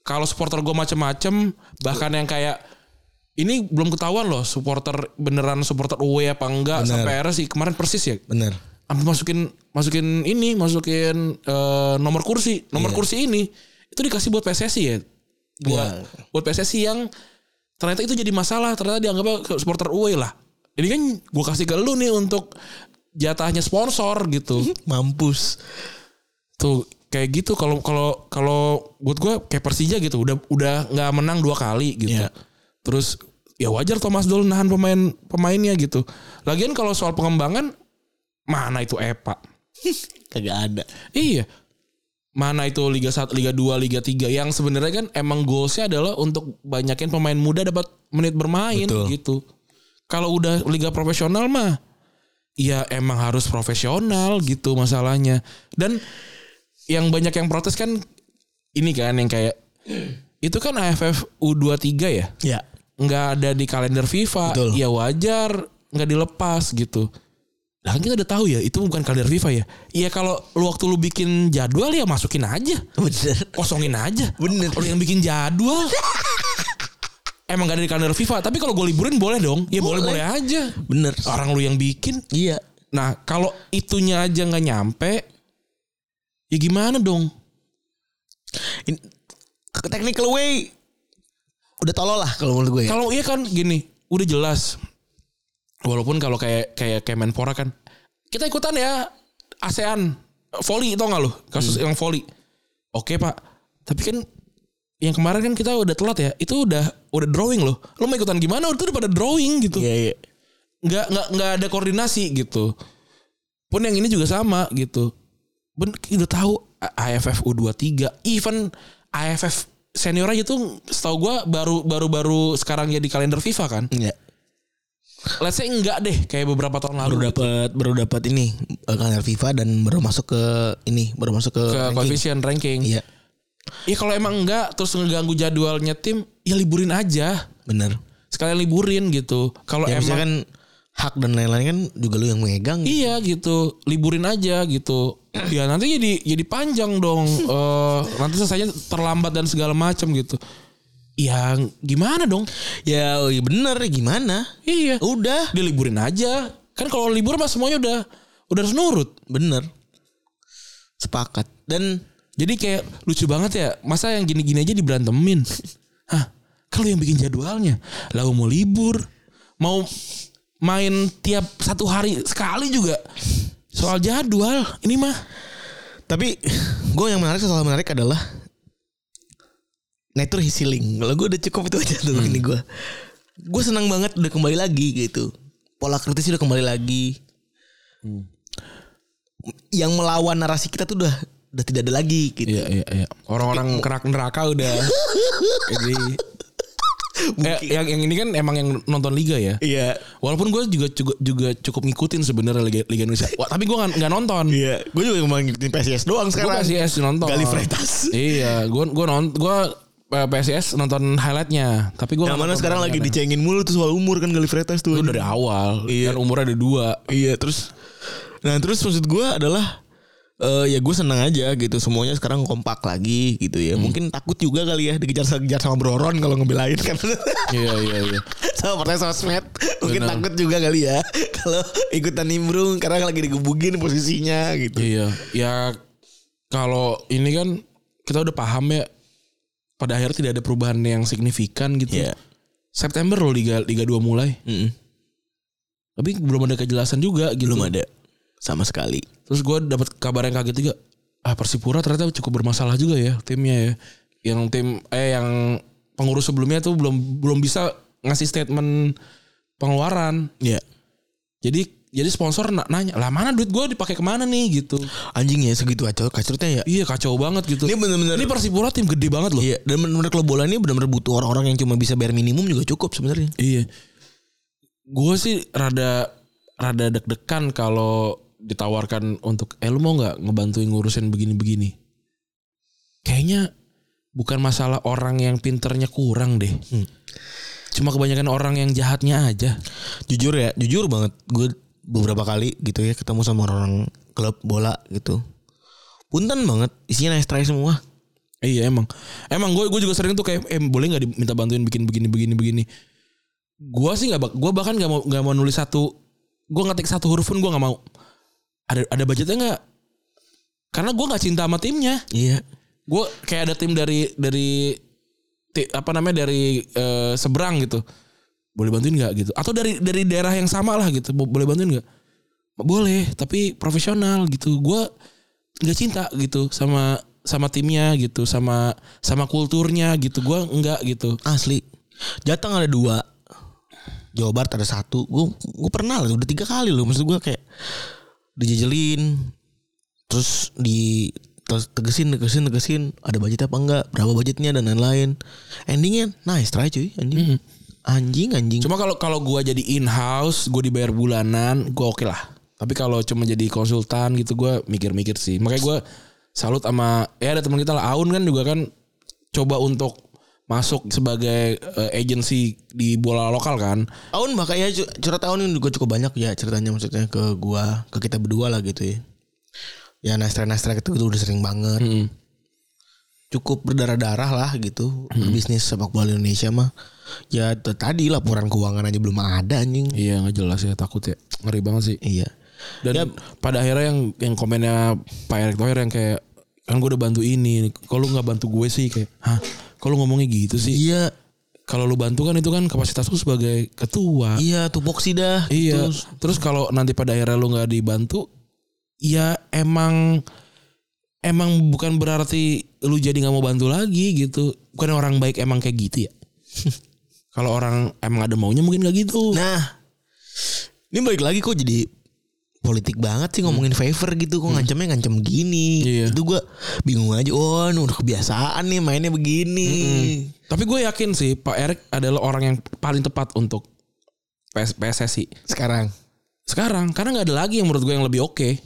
[SPEAKER 3] kalau supporter gue macem-macem bahkan yang kayak ini belum ketahuan loh supporter beneran supporter away apa enggak
[SPEAKER 2] Bener.
[SPEAKER 3] sampai akhirnya sih kemarin persis ya
[SPEAKER 2] Bener.
[SPEAKER 3] Sampai masukin masukin ini masukin eh, nomor kursi nomor
[SPEAKER 2] Iya.
[SPEAKER 3] kursi ini itu dikasih buat PSSI ya buat buat PSSI yang ternyata itu jadi masalah ternyata dianggap supporter away lah ini kan gue kasih ke lu nih untuk jatahnya sponsor gitu
[SPEAKER 2] Mhm. Mampus.
[SPEAKER 3] tuh kayak gitu kalau kalau kalau buat gue kayak Persija gitu udah udah nggak menang dua kali gitu
[SPEAKER 2] Iya.
[SPEAKER 3] terus ya wajar Thomas Doll nahan pemain pemainnya gitu lagian kalau soal pengembangan mana itu EPA
[SPEAKER 2] Kagak ada.
[SPEAKER 3] Iya. Mana itu Liga 1, Liga 2, Liga 3 yang sebenarnya kan emang goalsnya adalah untuk banyakin pemain muda dapat menit bermain
[SPEAKER 2] Betul.
[SPEAKER 3] gitu. Kalau udah liga profesional mah ya emang harus profesional gitu masalahnya. Dan yang banyak yang protes kan ini kan yang kayak itu kan AFF U23 ya?
[SPEAKER 2] Ya.
[SPEAKER 3] nggak ada di kalender FIFA,
[SPEAKER 2] Betul.
[SPEAKER 3] ya wajar nggak dilepas gitu. Lah kan kita udah tahu ya itu bukan kalender FIFA ya. Iya kalau lu waktu lu bikin jadwal ya masukin aja,
[SPEAKER 2] Bener.
[SPEAKER 3] kosongin aja.
[SPEAKER 2] Bener.
[SPEAKER 3] Lu yang bikin jadwal. Emang gak ada di kalender FIFA, tapi kalau gue liburin boleh dong. Ya boleh-boleh aja.
[SPEAKER 2] Bener.
[SPEAKER 3] Orang lu yang bikin.
[SPEAKER 2] Iya.
[SPEAKER 3] Nah, kalau itunya aja nggak nyampe, ya gimana dong?
[SPEAKER 2] In, technical way udah tolol lah kalau menurut gue ya.
[SPEAKER 3] Kalau iya kan gini, udah jelas. Walaupun kalau kayak kayak kayak Menpora kan kita ikutan ya ASEAN volley tau nggak lo kasus
[SPEAKER 2] Hmm.
[SPEAKER 3] yang volley. Oke pak, tapi kan yang kemarin kan kita udah telat ya. Itu udah udah drawing loh. Lo mau ikutan gimana? Itu udah pada drawing gitu
[SPEAKER 2] Iya iya.
[SPEAKER 3] nggak nggak nggak ada koordinasi gitu pun yang ini juga sama gitu ben udah tahu A- AFF U23 even AFF senior aja tuh setahu gua baru baru baru sekarang ya di kalender FIFA kan
[SPEAKER 2] Iya.
[SPEAKER 3] let's say enggak deh kayak beberapa tahun lalu
[SPEAKER 2] Baru dapat baru dapat ini eh, kalender FIFA dan baru masuk ke ini baru masuk ke,
[SPEAKER 3] ke
[SPEAKER 2] ranking.
[SPEAKER 3] koefisien ranking
[SPEAKER 2] Iya.
[SPEAKER 3] ya kalau emang enggak terus ngeganggu jadwalnya tim ya liburin aja
[SPEAKER 2] Bener.
[SPEAKER 3] sekalian liburin gitu kalau
[SPEAKER 2] Ya
[SPEAKER 3] emang
[SPEAKER 2] misalkan hak dan lain-lain kan juga lu yang megang.
[SPEAKER 3] Iya gitu, liburin aja gitu. Ya nanti jadi jadi panjang dong. Eh, nanti selesainya terlambat dan segala macam gitu. Ya gimana dong?
[SPEAKER 2] Ya oh, iya bener gimana?
[SPEAKER 3] Iya.
[SPEAKER 2] Udah
[SPEAKER 3] Diliburin aja. Kan kalau libur mah semuanya udah udah harus nurut.
[SPEAKER 2] bener. Sepakat. Dan
[SPEAKER 3] Jadi kayak lucu banget ya. Masa yang gini-gini aja diberantemin. Hah, kalau yang bikin jadwalnya, lah mau libur, mau main tiap satu hari sekali juga. Soal jadwal ini mah
[SPEAKER 2] tapi gue yang menarik soal menarik adalah nature is healing. Kalau gue udah cukup itu aja tuh ini gue. Gue senang banget udah kembali lagi gitu. Pola kritis udah kembali lagi. Hmm. Yang melawan narasi kita tuh udah udah tidak ada lagi gitu.
[SPEAKER 3] Iya iya iya. Orang-orang kerak neraka udah. Jadi eh, yang yang ini kan emang yang nonton liga ya.
[SPEAKER 2] Iya.
[SPEAKER 3] Walaupun gue juga juga juga cukup ngikutin sebenarnya liga, liga Indonesia. Wah, tapi gue nggak nggak nonton.
[SPEAKER 2] Iya, gue juga cuma ngikutin PSIS doang
[SPEAKER 3] Gue
[SPEAKER 2] sekarang.
[SPEAKER 3] PSIS nonton.
[SPEAKER 2] Gali Freitas.
[SPEAKER 3] Iya, gue gue nonton gue eh, PSIS nonton highlightnya. Tapi gue
[SPEAKER 2] Yang mana sekarang lagi dicengin mulu tuh soal umur kan Gali Freitas tuh.
[SPEAKER 3] Itu dari awal. Kan umurnya ada dua.
[SPEAKER 2] Iya terus Nah terus maksud gue adalah eh, Ya gue seneng aja gitu Semuanya sekarang kompak lagi gitu ya Mungkin takut juga kali ya Dikejar-kejar sama Broron kalau ngebelain kan
[SPEAKER 3] iya iya iya.
[SPEAKER 2] Sama pertanyaan sosmed Mungkin
[SPEAKER 3] Benar.
[SPEAKER 2] takut juga kali ya Kalau ikutan nimbrung Karena lagi digebukin posisinya gitu
[SPEAKER 3] Iya, ya kalau ini kan kita udah paham ya pada akhirnya tidak ada perubahan yang signifikan gitu.
[SPEAKER 2] Iya.
[SPEAKER 3] September loh Liga Liga 2 mulai.
[SPEAKER 2] Mm-mm.
[SPEAKER 3] Tapi belum ada kejelasan juga gitu.
[SPEAKER 2] Belum ada Sama sekali
[SPEAKER 3] Terus gue dapat kabar yang kaget juga. ah Persipura ternyata cukup bermasalah juga ya timnya ya. Yang tim eh yang pengurus sebelumnya tuh belum belum bisa ngasih statement pengeluaran.
[SPEAKER 2] Iya.
[SPEAKER 3] Jadi jadi sponsor na- nanya, "Lah mana duit gue dipakai kemana nih?" gitu.
[SPEAKER 2] Anjing ya segitu aja kacurnya ya.
[SPEAKER 3] Iya kacau banget gitu.
[SPEAKER 2] Ini bener-bener-
[SPEAKER 3] Ini Persipura tim gede banget loh.
[SPEAKER 2] Iya, dan menurut klub bola ini benar-benar butuh orang-orang yang cuma bisa bayar minimum juga cukup sebenarnya.
[SPEAKER 3] Iya. Gue sih rada rada deg-degan kalau ditawarkan untuk eh lu mau nggak ngebantuin ngurusin begini-begini. Kayaknya bukan masalah orang yang pinternya kurang deh. Cuma kebanyakan orang yang jahatnya aja.
[SPEAKER 2] Jujur ya, jujur banget gue beberapa kali gitu ya ketemu sama orang-orang klub bola gitu. Punten banget, isinya nice try semua.
[SPEAKER 3] Eh, Iya emang. Emang gue gue juga sering tuh kayak eh boleh nggak diminta bantuin bikin begini begini begini. Gue sih nggak gue bahkan nggak mau nggak mau nulis satu gue ngetik satu huruf pun gue nggak mau. Ada ada budgetnya nggak? Karena gue nggak cinta sama timnya.
[SPEAKER 2] Iya.
[SPEAKER 3] Gue kayak ada tim dari dari ti- apa namanya dari eh, seberang gitu. Boleh bantuin nggak gitu? Atau dari dari daerah yang sama lah gitu. Bo- Boleh bantuin nggak? Boleh, tapi profesional gitu. Gue nggak cinta gitu sama sama timnya gitu, sama sama kulturnya gitu. Gue nggak gitu.
[SPEAKER 2] Asli. Jateng ada dua. Jawa Barat ada satu. Gue gue pernah lah, udah tiga kali loh. Maksud gue kayak dijejelin, terus di terus tegesin tegesin tegesin ada budget apa enggak berapa budgetnya dan lain-lain endingnya nice try cuy anjing anjing anjing
[SPEAKER 3] Cuma kalau kalau gue jadi in house, gue dibayar bulanan, gue oke lah. Tapi kalau cuma jadi konsultan gitu, gue mikir-mikir sih. Makanya gue salut sama ya ada teman kita lah Aun kan juga kan coba untuk masuk sebagai eh, agency di bola lokal kan.
[SPEAKER 2] Aun makanya cu- curhat Aun ini juga cukup banyak ya ceritanya maksudnya ke gua, ke kita berdua lah gitu ya. Ya nastra-nastra itu udah sering banget.
[SPEAKER 3] Hmm.
[SPEAKER 2] Cukup berdarah-darah lah gitu.
[SPEAKER 3] Hmm.
[SPEAKER 2] Berbisnis sepak bola Indonesia mah. Ya t- tadi laporan keuangan aja belum ada anjing.
[SPEAKER 3] Iya nggak jelas ya takut ya ngeri banget sih.
[SPEAKER 2] Iya.
[SPEAKER 3] Dan pada akhirnya yang yang komennya Pak Erick Thohir yang kayak kan gue udah bantu ini, kalau nggak bantu gue sih kayak, hah, kalau ngomongnya gitu sih.
[SPEAKER 2] Iya,
[SPEAKER 3] Kalau lu bantu kan itu kan kapasitas lu sebagai ketua.
[SPEAKER 2] iya tupoksi dah.
[SPEAKER 3] Iya.
[SPEAKER 2] gitu.
[SPEAKER 3] Terus, kalau nanti pada akhirnya lu nggak dibantu, ya emang emang bukan berarti lu jadi nggak mau bantu lagi gitu. Bukan orang baik emang kayak gitu ya. kalau orang emang ada maunya mungkin nggak gitu.
[SPEAKER 2] Nah, ini balik lagi kok jadi politik banget sih ngomongin favor gitu kok ngancamnya ngancam gini.
[SPEAKER 3] Hmm. Iya.
[SPEAKER 2] Itu gua bingung aja. Oh, ini udah kebiasaan nih mainnya begini.
[SPEAKER 3] Tapi gue yakin sih Pak Erick adalah orang yang paling tepat untuk PS PSSI
[SPEAKER 2] Sekarang.
[SPEAKER 3] sekarang karena nggak ada lagi yang menurut gue yang lebih oke.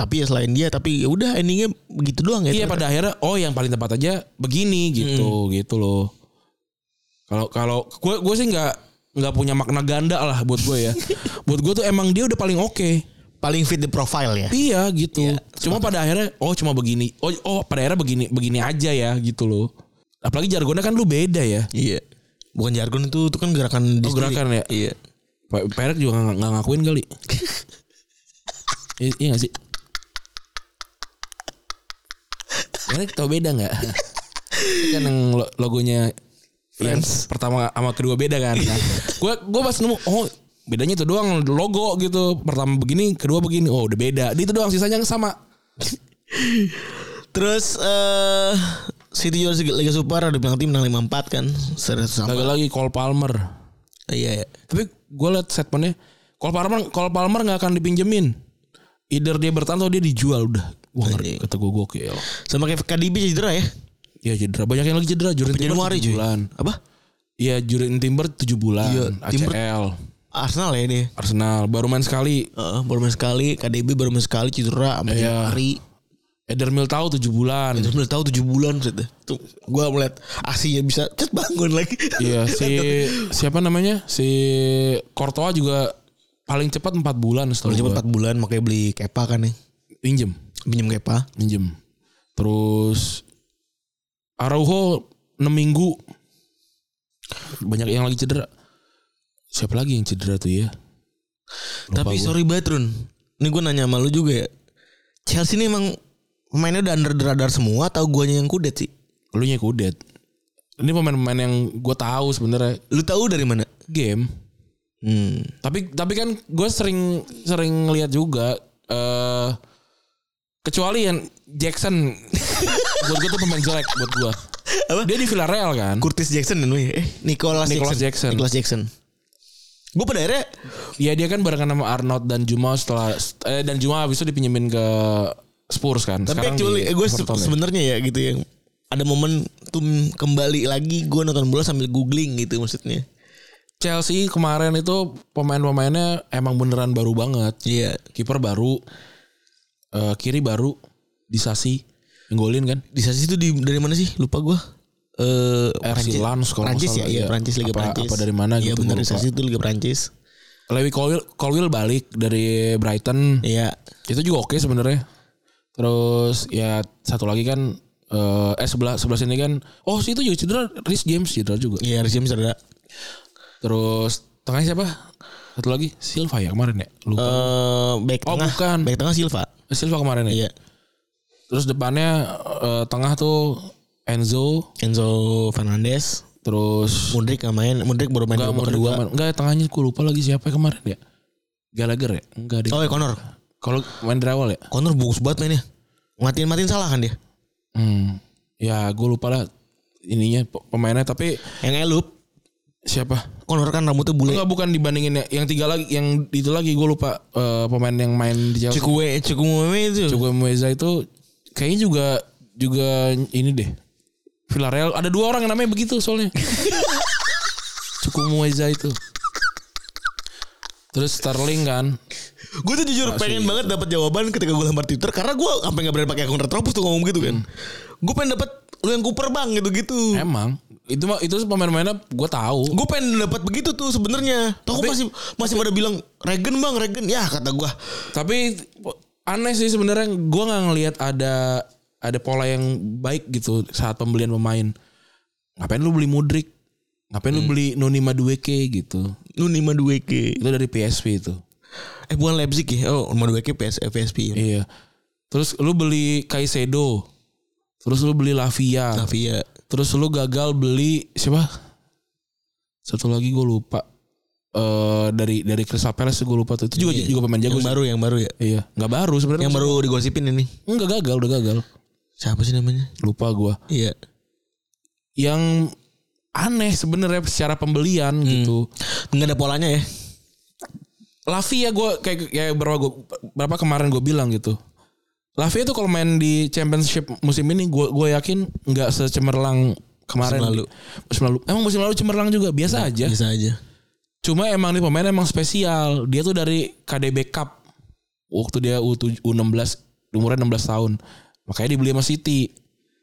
[SPEAKER 2] Tapi ya selain dia tapi ya udah endingnya begitu doang ya.
[SPEAKER 3] Iya pada akhirnya oh yang paling tepat aja begini gitu gitu loh. Kalau kalau gue gue sih nggak nggak punya makna ganda lah buat gue ya. buat gue tuh emang dia udah paling oke.
[SPEAKER 2] paling fit the profile ya.
[SPEAKER 3] Iya gitu. cuma pada akhirnya oh cuma begini. Oh oh pada akhirnya begini begini aja ya gitu loh. Apalagi jargonnya kan lu beda ya.
[SPEAKER 2] Iya. Bukan jargon itu itu kan gerakan di
[SPEAKER 3] Oh, gerakan ya?
[SPEAKER 2] Iya.
[SPEAKER 3] Pak Perek juga nggak nggak ngakuin kali. I- iya gak sih? Perek tau beda nggak? kan yang lo- logonya yang pertama sama kedua beda kan. Nah, Gue gue pas nemu oh bedanya itu doang logo gitu. Pertama begini, kedua begini. Oh udah beda. Dia itu doang sisanya yang sama.
[SPEAKER 2] Terus eh City juara Liga Super ada penalti menang 5-4 kan. Serius sama.
[SPEAKER 3] Lagi lagi Cole Palmer.
[SPEAKER 2] Iya, iya.
[SPEAKER 3] Tapi gue liat statementnya Cole Palmer Cole Palmer nggak akan dipinjemin. Either dia bertahan atau dia dijual udah. Wah ngeri kata gue gokil.
[SPEAKER 2] Sama kayak KDB cedera ya.
[SPEAKER 3] Ya cedera banyak yang lagi cedera Jurin
[SPEAKER 2] Januari
[SPEAKER 3] tujuh
[SPEAKER 2] cuy.
[SPEAKER 3] bulan.
[SPEAKER 2] Apa?
[SPEAKER 3] Iya Jurin Timber 7 bulan.
[SPEAKER 2] Iya, Timber-
[SPEAKER 3] ACL
[SPEAKER 2] Arsenal ya dia.
[SPEAKER 3] Arsenal baru main sekali.
[SPEAKER 2] Heeh, baru main sekali KDB baru main sekali cedera sampai
[SPEAKER 3] Iya.
[SPEAKER 2] Januari.
[SPEAKER 3] Eder Militao 7 bulan.
[SPEAKER 2] Terus udah tahu 7 bulan gitu. Tuh, gua melihat aksinya bisa cet bangun lagi.
[SPEAKER 3] Iya si siapa namanya? Si Kortoa juga paling cepat 4 bulan
[SPEAKER 2] Baru
[SPEAKER 3] setahu gue.
[SPEAKER 2] cuma 4 bulan makanya beli Kepa kan ya.
[SPEAKER 3] Pinjem,
[SPEAKER 2] Pinjam Kepa.
[SPEAKER 3] pinjem. Terus Araujo 6 minggu. Banyak yang lagi cedera. Siapa lagi yang cedera tuh ya? Lupa
[SPEAKER 2] Tapi
[SPEAKER 3] gua.
[SPEAKER 2] sorry banget Run. Ini gue nanya sama lu juga ya. Chelsea ini emang mainnya udah under the radar semua atau guanya yang kudet sih?
[SPEAKER 3] lu nya kudet. Ini pemain-pemain yang gue tahu sebenarnya
[SPEAKER 2] Lu tahu dari mana?
[SPEAKER 3] game.
[SPEAKER 2] Hmm.
[SPEAKER 3] Tapi tapi kan gue sering sering lihat juga eh Kecuali yang Jackson buat gue tuh pemain jelek buat gue.
[SPEAKER 2] Apa?
[SPEAKER 3] Dia di Villarreal kan.
[SPEAKER 2] Curtis Jackson dan eh Nicholas,
[SPEAKER 3] Nicholas Jackson.
[SPEAKER 2] Nicholas Jackson. Gue pada akhirnya
[SPEAKER 3] Iya dia kan barengan sama Arnold dan Juma setelah eh, dan Juma habis itu dipinjemin ke Spurs kan.
[SPEAKER 2] tapi
[SPEAKER 3] Sekarang
[SPEAKER 2] actually eh,
[SPEAKER 3] di
[SPEAKER 2] gue
[SPEAKER 3] Everton ya.
[SPEAKER 2] sebenarnya ya gitu yang ada momen tuh kembali lagi gue nonton bola sambil googling gitu maksudnya.
[SPEAKER 3] Chelsea kemarin itu pemain-pemainnya emang beneran baru banget.
[SPEAKER 2] Iya.
[SPEAKER 3] Kiper baru, eh, kiri baru, disasi, golin kan.
[SPEAKER 2] Di saat itu di dari mana sih? Lupa gue. Eh
[SPEAKER 3] RC
[SPEAKER 2] Prancis-
[SPEAKER 3] Lens kalau nggak
[SPEAKER 2] Prancis ya,
[SPEAKER 3] salah,
[SPEAKER 2] iya
[SPEAKER 3] iya.
[SPEAKER 2] Prancis Liga
[SPEAKER 3] Apa-
[SPEAKER 2] Prancis.
[SPEAKER 3] apa dari mana
[SPEAKER 2] Iya
[SPEAKER 3] gitu,
[SPEAKER 2] benar
[SPEAKER 3] gua
[SPEAKER 2] di
[SPEAKER 3] lupa.
[SPEAKER 2] saat itu Liga Prancis.
[SPEAKER 3] Lewi Colwill, Colwill balik dari Brighton.
[SPEAKER 2] Iya.
[SPEAKER 3] Itu juga oke sebenarnya. Terus ya satu lagi kan eh, eh sebelah sebelah sini kan oh si itu juga cedera Rhys James cedera juga.
[SPEAKER 2] Iya harusnya bisa ada.
[SPEAKER 3] Terus tengahnya siapa? Satu lagi Silva ya kemarin ya. Lupa.
[SPEAKER 2] Eh back
[SPEAKER 3] Oh,
[SPEAKER 2] tengah.
[SPEAKER 3] bukan.
[SPEAKER 2] Back tengah Silva.
[SPEAKER 3] Silva kemarin ya.
[SPEAKER 2] Iya.
[SPEAKER 3] Terus depannya eh, tengah tuh Enzo,
[SPEAKER 2] Enzo Fernandez.
[SPEAKER 3] terus
[SPEAKER 2] Mudrik nggak main. Mudrik baru main di
[SPEAKER 3] enggak
[SPEAKER 2] babak
[SPEAKER 3] Modric
[SPEAKER 2] kedua.
[SPEAKER 3] kemarin. Enggak tengahnya gue lupa lagi siapa kemarin ya. Gallagher ya? Enggak deh.
[SPEAKER 2] Oh, ya Connor.
[SPEAKER 3] Kalau main dari awal ya?
[SPEAKER 2] Connor bagus banget mainnya. Matiin-matiin salah kan dia.
[SPEAKER 3] Hmm. Ya gue lupa lah ininya pe- pemainnya tapi
[SPEAKER 2] Yang elup.
[SPEAKER 3] siapa?
[SPEAKER 2] Connor kan rambutnya bule.
[SPEAKER 3] Enggak bukan dibandingin ya. yang tiga lagi yang itu lagi gue lupa eh, pemain yang main di Chelsea.
[SPEAKER 2] Cukwe, Cukwe itu.
[SPEAKER 3] Juga Mueza itu kayaknya juga juga ini deh. Villarreal ada dua orang yang namanya begitu soalnya. Cukup Mueza itu. Terus Sterling kan.
[SPEAKER 2] Gue tuh jujur pengen banget dapat jawaban ketika gue lempar Twitter karena gue sampai nggak berani pakai akun Retropus tuh ngomong gitu kan. Gue pengen dapat lu yang Cooper bang gitu, gitu-gitu.
[SPEAKER 3] Emang itu mah- itu pemain-pemainnya gue tahu.
[SPEAKER 2] Gue pengen dapat begitu tuh sebenarnya. Tapi masih masih pada bilang Regen bang Regen ya kata gue.
[SPEAKER 3] Tapi aneh sih sebenarnya gue nggak ngelihat ada ada pola yang baik gitu saat pembelian pemain. Ngapain lu beli Mudrik? Ngapain lu beli Noni Madueke gitu?
[SPEAKER 2] Lu 52 k.
[SPEAKER 3] Itu dari PSV itu.
[SPEAKER 2] Eh bukan Leipzig ya? Oh 52 k PS PSP.
[SPEAKER 3] Iya. Terus lu beli Kaisedo. Terus lu beli Lavia.
[SPEAKER 2] Tapi ya
[SPEAKER 3] Terus lu gagal beli siapa? Satu lagi gue lupa. Eh dari dari Crystal Palace gue lupa tuh. Itu juga
[SPEAKER 2] Iya.
[SPEAKER 3] juga pemain
[SPEAKER 2] yang
[SPEAKER 3] jago. sih.
[SPEAKER 2] baru yang baru ya.
[SPEAKER 3] Iya, nggak baru sebenarnya.
[SPEAKER 2] Yang baru digosipin ini.
[SPEAKER 3] Enggak gagal, udah gagal.
[SPEAKER 2] Siapa sih namanya?
[SPEAKER 3] Lupa gua.
[SPEAKER 2] Iya.
[SPEAKER 3] Yang aneh sebenarnya secara pembelian
[SPEAKER 2] Hmm.
[SPEAKER 3] gitu.
[SPEAKER 2] Enggak ada polanya ya.
[SPEAKER 3] Lavia gue kayak kayak berapa gua, berapa kemarin gue bilang gitu. Lavia tuh kalau main di championship musim ini gue gue yakin nggak secemerlang kemarin.
[SPEAKER 2] Musim lalu. Nah, iya.
[SPEAKER 3] Musim lalu. Emang musim lalu cemerlang juga biasa aja.
[SPEAKER 2] Bisa aja.
[SPEAKER 3] Cuma emang nih pemain emang spesial. Dia tuh dari KDB Cup. Waktu dia U7 U16 umurnya 16 tahun. Makanya dibeli sama City.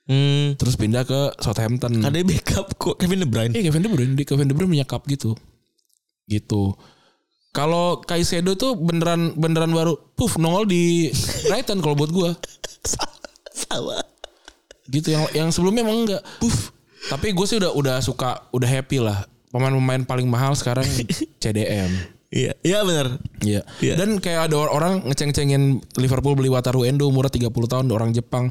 [SPEAKER 2] Hmm.
[SPEAKER 3] Terus pindah ke Southampton.
[SPEAKER 2] Ada backup kok Kevin De Bruyne.
[SPEAKER 3] Iya Kevin De Bruyne, di Kevin De Bruyne punya cup gitu. Gitu. Kalau Kaisedo tuh beneran beneran baru puff nongol di Brighton kalau buat gua.
[SPEAKER 2] Sama.
[SPEAKER 3] Gitu yang yang sebelumnya emang enggak. Puff. Tapi gue sih udah udah suka, udah happy lah. Pemain-pemain paling mahal sekarang CDM.
[SPEAKER 2] Iya. Iya benar.
[SPEAKER 3] Iya.
[SPEAKER 2] Iya.
[SPEAKER 3] Dan kayak ada orang ngeceng-cengin Liverpool beli Wataru Endo umurnya 30 tahun orang Jepang.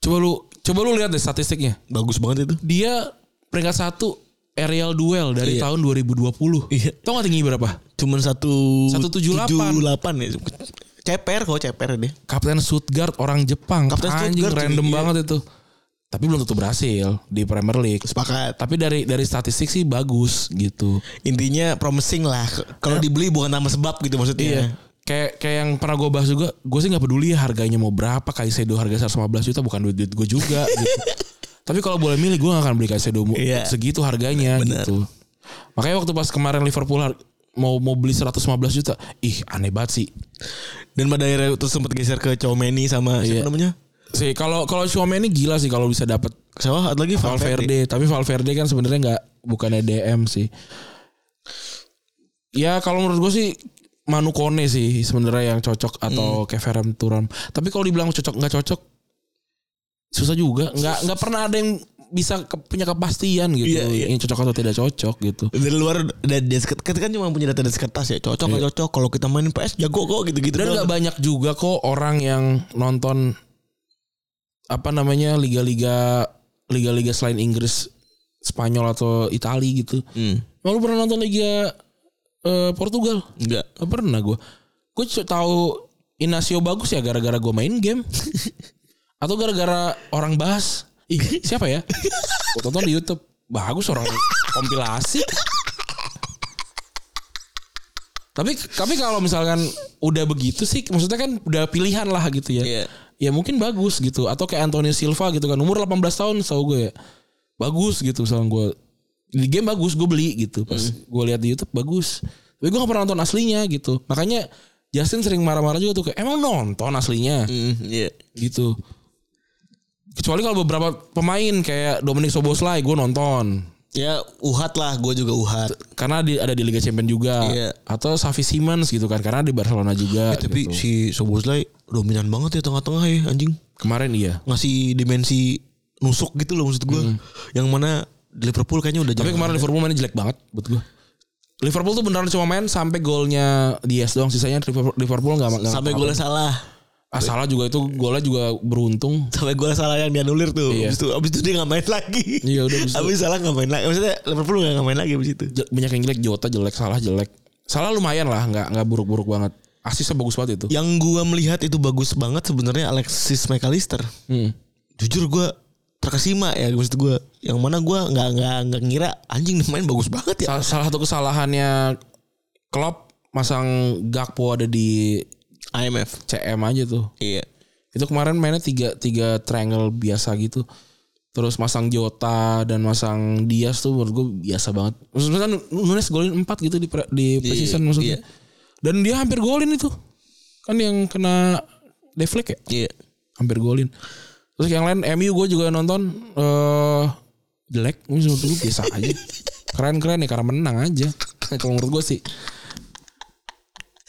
[SPEAKER 3] Coba lu coba lu lihat deh statistiknya.
[SPEAKER 2] Bagus banget itu.
[SPEAKER 3] dia peringkat satu aerial duel dari
[SPEAKER 2] Iya.
[SPEAKER 3] tahun 2020.
[SPEAKER 2] Iya.
[SPEAKER 3] Tau gak tinggi berapa?
[SPEAKER 2] Cuman satu
[SPEAKER 3] 178.
[SPEAKER 2] 78 ya. Ceper kok ceper dia.
[SPEAKER 3] Kapten Stuttgart orang Jepang.
[SPEAKER 2] Kapten
[SPEAKER 3] Anjing
[SPEAKER 2] Stuttgart,
[SPEAKER 3] random
[SPEAKER 2] iya.
[SPEAKER 3] banget itu. Tapi belum tentu berhasil di Premier League.
[SPEAKER 2] Sepakat.
[SPEAKER 3] Tapi dari dari statistik sih bagus gitu.
[SPEAKER 2] Intinya promising lah. Kalau dibeli bukan nama sebab gitu maksudnya.
[SPEAKER 3] Iya. Kayak kayak yang pernah gue bahas juga, gue sih nggak peduli harganya mau berapa. Kaisedo harga 115 juta bukan duit duit gue juga. gitu. Tapi kalau boleh milih gue gak akan beli Kaisedo mu-
[SPEAKER 2] Iya.
[SPEAKER 3] segitu harganya
[SPEAKER 2] Bener.
[SPEAKER 3] gitu. Makanya waktu pas kemarin Liverpool har- mau mau beli 115 juta, ih aneh banget sih.
[SPEAKER 2] Dan pada akhirnya terus sempat geser ke Chomeni sama
[SPEAKER 3] Iya.
[SPEAKER 2] siapa namanya?
[SPEAKER 3] sih kalau kalau Suame ini gila sih kalau bisa dapat
[SPEAKER 2] Siapa? Ada lagi Valverde.
[SPEAKER 3] Valverde tapi Valverde kan sebenarnya nggak bukannya DM sih ya kalau menurut gue sih Manu Kone sih sebenarnya yang cocok
[SPEAKER 2] Hmm.
[SPEAKER 3] atau Keferam Turam tapi kalau dibilang cocok nggak cocok susah juga nggak nggak pernah ada yang bisa ke- punya kepastian gitu
[SPEAKER 2] Iya, iya.
[SPEAKER 3] yang cocok atau tidak cocok gitu
[SPEAKER 2] Dari luar dari dari sekat- kita kan cuma punya data dari kertas ya. Cocok nggak cocok kalau kita main PS jago kok gitu-gitu. Hmm.
[SPEAKER 3] dan nggak
[SPEAKER 2] doang.
[SPEAKER 3] banyak juga kok orang yang nonton apa namanya liga-liga liga-liga selain Inggris Spanyol atau Itali gitu
[SPEAKER 2] Hmm.
[SPEAKER 3] Emang lu pernah nonton Liga eh, Portugal?
[SPEAKER 2] Enggak.
[SPEAKER 3] Gak pernah gue. Gue tahu Inacio bagus ya gara-gara gue main game atau gara-gara orang bahas Ih, siapa ya gue tonton di YouTube bagus orang kompilasi tapi tapi kalau misalkan udah begitu sih maksudnya kan udah pilihan lah gitu ya
[SPEAKER 2] Iya.
[SPEAKER 3] ya mungkin bagus gitu atau kayak Antonio Silva gitu kan umur 18 tahun tahu gue ya bagus gitu misalnya gue di game bagus gue beli gitu pas
[SPEAKER 2] Hmm.
[SPEAKER 3] gue lihat di YouTube bagus tapi gue gak pernah nonton aslinya gitu makanya Justin sering marah-marah juga tuh kayak emang nonton aslinya
[SPEAKER 2] Hmm, iya.
[SPEAKER 3] gitu kecuali kalau beberapa pemain kayak Dominic Soboslai gue nonton
[SPEAKER 2] Ya uhat lah, gue juga uhat.
[SPEAKER 3] karena di, ada di Liga Champions juga
[SPEAKER 2] Iya. Eh,
[SPEAKER 3] atau Xavi Simons gitu kan karena di Barcelona juga
[SPEAKER 2] Tapi
[SPEAKER 3] gitu.
[SPEAKER 2] si Soboslai dominan banget ya tengah-tengah ya anjing.
[SPEAKER 3] kemarin iya
[SPEAKER 2] Ngasih dimensi nusuk gitu loh maksud gue. Yang mana di Liverpool kayaknya udah
[SPEAKER 3] tapi
[SPEAKER 2] jarang
[SPEAKER 3] kemarin
[SPEAKER 2] ada.
[SPEAKER 3] Liverpool mainnya jelek banget buat gue Liverpool tuh beneran cuma main sampai golnya Diaz doang sisanya Liverpool- Liverpool nggak nggak-
[SPEAKER 2] sampai golnya salah.
[SPEAKER 3] ah, salah juga itu golnya juga beruntung
[SPEAKER 2] Sampai golnya salah yang dianulir tuh.
[SPEAKER 3] Iya.
[SPEAKER 2] Abis itu abis itu dia nggak main lagi.
[SPEAKER 3] Iya, udah, abis
[SPEAKER 2] abis,
[SPEAKER 3] itu.
[SPEAKER 2] salah nggak main lagi. Maksudnya Liverpool nggak main lagi abis itu.
[SPEAKER 3] Je- banyak yang jelek Jota jelek salah jelek salah lumayan lah nggak nggak buruk-buruk banget asisnya bagus banget itu
[SPEAKER 2] Yang gua melihat itu bagus banget sebenarnya Alexis McAllister.
[SPEAKER 3] Hmm.
[SPEAKER 2] Jujur gua terkesima ya maksud gua. Yang mana gua nggak nggak nggak ngira anjing nih main bagus banget ya.
[SPEAKER 3] Sa- salah satu kesalahannya Klopp masang Gakpo ada di
[SPEAKER 2] IMF.
[SPEAKER 3] CM aja tuh
[SPEAKER 2] Iya.
[SPEAKER 3] itu kemarin mainnya tiga tiga triangle biasa gitu terus masang Jota dan masang Diaz tuh menurut gue biasa banget maksudnya kan Nunes golin empat gitu di pre, di precision
[SPEAKER 2] iya.
[SPEAKER 3] maksudnya dan dia hampir golin itu kan yang kena deflect ya
[SPEAKER 2] Iya.
[SPEAKER 3] hampir golin terus yang lain MU gue juga nonton eh jelek Ini menurut gue biasa aja keren keren ya karena menang aja Nah, kalau menurut gue sih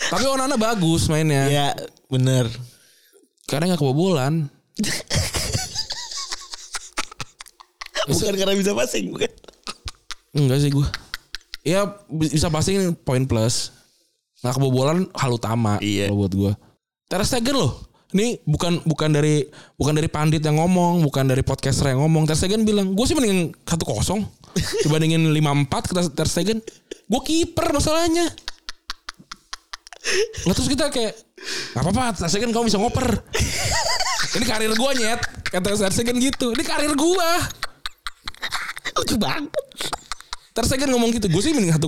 [SPEAKER 3] tapi Onana bagus mainnya
[SPEAKER 2] Iya, bener.
[SPEAKER 3] karena nggak kebobolan
[SPEAKER 2] Bukan karena bisa passing, bukan.
[SPEAKER 3] enggak sih gue ya bi- bisa pasti ini poin plus nggak kebobolan hal utama
[SPEAKER 2] Iya.
[SPEAKER 3] kalau buat gue Ter Stegen loh ini bukan bukan dari bukan dari pandit yang ngomong bukan dari podcaster yang ngomong Ter Stegen bilang gue sih mendingin satu kosong dibandingin lima empat kata Ter Stegen gue kiper masalahnya Lah terus kita kayak Gak apa-apa Ter Stegen kamu bisa ngoper Ini karir gue nyet Kata Ter Stegen gitu Ini karir gue
[SPEAKER 2] Lucu banget.
[SPEAKER 3] Ter Stegen ngomong gitu, gue sih mending 1-0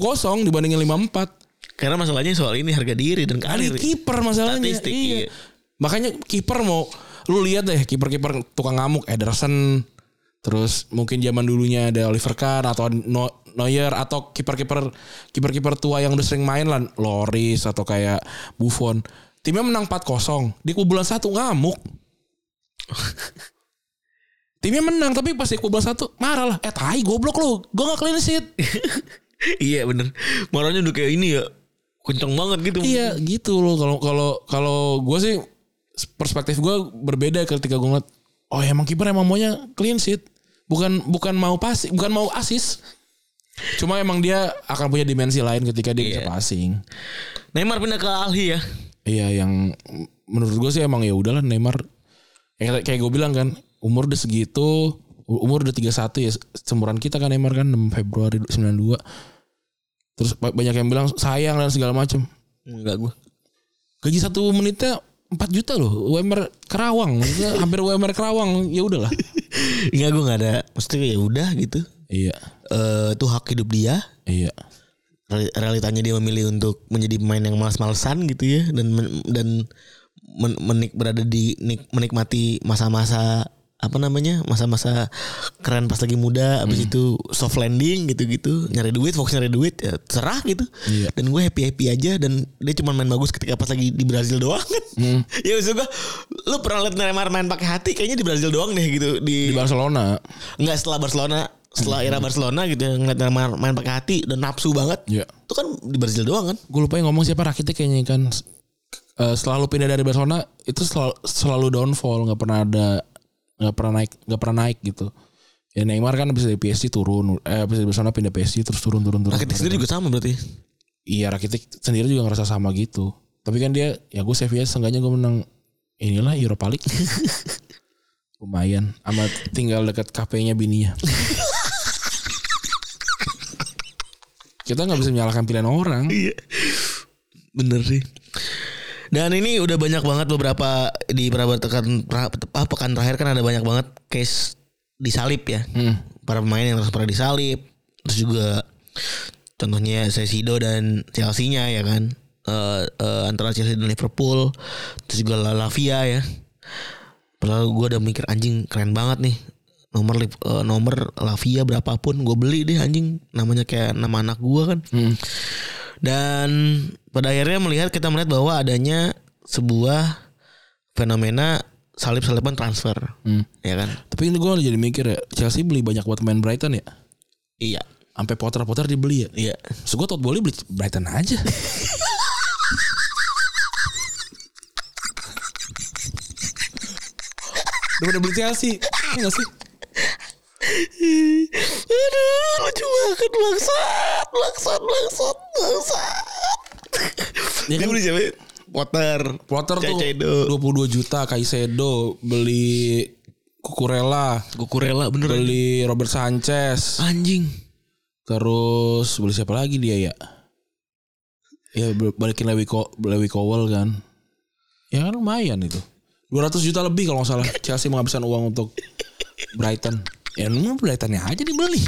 [SPEAKER 3] dibandingin 5-4.
[SPEAKER 2] Karena masalahnya soal ini harga diri dan
[SPEAKER 3] Ada
[SPEAKER 2] karir.
[SPEAKER 3] kiper masalahnya.
[SPEAKER 2] Statistik, iya.
[SPEAKER 3] Makanya kiper mau lu lihat deh kiper-kiper tukang ngamuk Ederson terus mungkin zaman dulunya ada Oliver Kahn atau No- Neuer atau kiper-kiper kiper-kiper tua yang udah sering main lah Loris atau kayak Buffon. Timnya menang 4-0. Di kubulan satu ngamuk. Timnya menang tapi pas di kubulan satu marah lah. Eh tai goblok lu. Gue gak clean sheet.
[SPEAKER 2] iya bener. Marahnya udah kayak ini ya. Kenceng banget gitu.
[SPEAKER 3] Iya gitu loh kalau kalau kalau gue sih perspektif gue berbeda ketika gue ngeliat oh emang kiper emang maunya clean sheet bukan bukan mau passing bukan mau asis cuma emang dia akan punya dimensi lain ketika dia bisa passing
[SPEAKER 2] Neymar pindah ke Alhi ya.
[SPEAKER 3] iya yang menurut gue sih emang ya udahlah Neymar ya, kayak- kayak gue bilang kan umur udah segitu u- umur udah 31 ya semuran kita kan Neymar kan 6 Februari 92 terus ba- banyak yang bilang sayang dan segala macam
[SPEAKER 2] Enggak gue.
[SPEAKER 3] gaji satu menitnya 4 juta loh UMR Kerawang Maksudnya hampir UMR Kerawang ya udahlah
[SPEAKER 2] Enggak gue nggak ada. Maksudnya ya udah gitu.
[SPEAKER 3] iya
[SPEAKER 2] Eh, itu hak hidup dia.
[SPEAKER 3] iya
[SPEAKER 2] Real- Realitanya dia memilih untuk menjadi pemain yang malas-malesan gitu ya dan men- dan men- menik berada di nik- menikmati masa-masa apa namanya masa-masa keren pas lagi muda
[SPEAKER 3] Hmm.
[SPEAKER 2] abis itu soft landing gitu-gitu nyari duit fokus nyari duit ya serah gitu
[SPEAKER 3] Iya.
[SPEAKER 2] dan gue happy happy aja dan dia cuma main bagus ketika pas lagi di Brazil doang kan
[SPEAKER 3] Hmm.
[SPEAKER 2] ya maksud gue lu pernah liat Neymar main pakai hati kayaknya di Brazil doang deh gitu
[SPEAKER 3] di Hmm. Barcelona
[SPEAKER 2] Enggak setelah Barcelona setelah era Barcelona gitu ya, ngeliat Neymar main pakai hati dan nafsu banget.
[SPEAKER 3] Iya.
[SPEAKER 2] Itu kan di Brazil doang kan?
[SPEAKER 3] gue lupa yang ngomong siapa rakitnya kayaknya kan Eh, selalu pindah dari Barcelona itu selalu, selalu downfall nggak pernah ada nggak pernah naik nggak pernah naik gitu ya Neymar kan bisa dari PSG turun eh bisa dari Barcelona pindah PSG terus turun turun turun
[SPEAKER 2] Rakitic sendiri juga sama berarti.
[SPEAKER 3] iya Rakitic sendiri juga ngerasa sama gitu tapi kan dia ya gue Sevilla seenggaknya gue menang inilah Europa League lumayan amat tinggal dekat kafenya bininya kita nggak bisa menyalahkan pilihan orang
[SPEAKER 2] Iya. Bener sih. Dan ini udah banyak banget beberapa di beberapa tekan, pra- apa, pekan terakhir kan ada banyak banget case disalip ya. Para pemain yang terus pernah disalip. Terus juga contohnya Sesido dan Chelsea-nya ya kan. Eh, eh, antara Chelsea dan Liverpool. Terus juga La Lavia ya. Padahal gue udah mikir anjing keren banget nih nomor Liv- eh, nomor Lavia berapapun gue beli deh anjing namanya kayak nama anak gue kan
[SPEAKER 3] Hmm.
[SPEAKER 2] dan pada akhirnya melihat kita melihat bahwa adanya sebuah fenomena salib saliban transfer ya kan
[SPEAKER 3] Tapi ini gue jadi mikir ya, Chelsea beli banyak buat pemain Brighton ya.
[SPEAKER 2] iya
[SPEAKER 3] Sampai Potter-Potter dibeli ya.
[SPEAKER 2] iya
[SPEAKER 3] So gue Todd Bowley beli Brighton aja. Daripada beli Chelsea. Iya nggak sih?
[SPEAKER 2] aduh lucu banget bangsat bangsat bangsat bangsat
[SPEAKER 3] Ya
[SPEAKER 2] ya
[SPEAKER 3] kan?
[SPEAKER 2] kan beli siapa Potter
[SPEAKER 3] Potter tuh
[SPEAKER 2] Caicedo.
[SPEAKER 3] 22 juta Caicedo beli Kukurela,
[SPEAKER 2] Kukurela bener
[SPEAKER 3] beli Robert Sanchez,
[SPEAKER 2] anjing
[SPEAKER 3] terus beli siapa lagi dia ya? Ya bal- balikin Lewi Co Lewi Cowell kan. Ya kan lumayan itu. 200 juta lebih kalau nggak salah Chelsea menghabiskan uang untuk Brighton. Ya lu Brightonnya aja dibeli.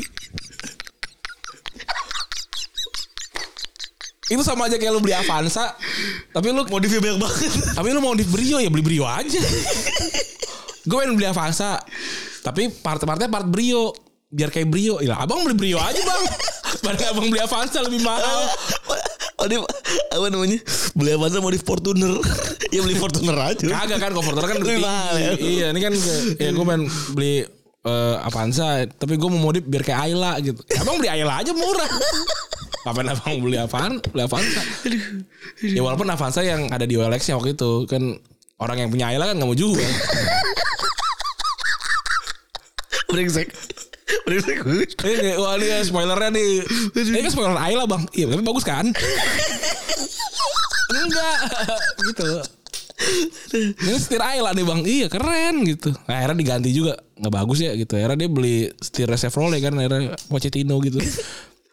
[SPEAKER 3] itu sama aja kayak lu beli Avanza, tapi lu
[SPEAKER 2] modifnya banyak banget
[SPEAKER 3] tapi lu mau di Brio ya beli Brio aja. gue pengen beli Avanza. Tapi part-partnya part Brio. Biar kayak Brio. Ya abang beli Brio aja bang. Padahal abang beli Avanza lebih mahal.
[SPEAKER 2] modif apa namanya beli apa sih modif Fortuner ya beli Fortuner aja
[SPEAKER 3] Kagak kan komforter kan
[SPEAKER 2] Lebih
[SPEAKER 3] tinggi.
[SPEAKER 2] mahal ya.
[SPEAKER 3] Iya ini kan kayak- ya gue pengen beli eh, Avanza. Tapi gue mau modif biar kayak Ayla gitu. Ya, abang beli Ayla aja murah. Kapan abang beli Avan, beli Avanza? Ya walaupun Avanza yang ada di OLX nya waktu itu kan orang yang punya Ayla kan nggak mau jual.
[SPEAKER 2] brengsek brengsek
[SPEAKER 3] Ini wah ini ya spoilernya nih. Ini kan spoiler Ayla bang. Iya tapi bagus kan? Enggak gitu. Ini setir Ayla nih bang. Iya keren gitu. Nah, akhirnya diganti juga nggak bagus ya gitu. Akhirnya dia beli setir Chevrolet kan akhirnya Pochettino gitu.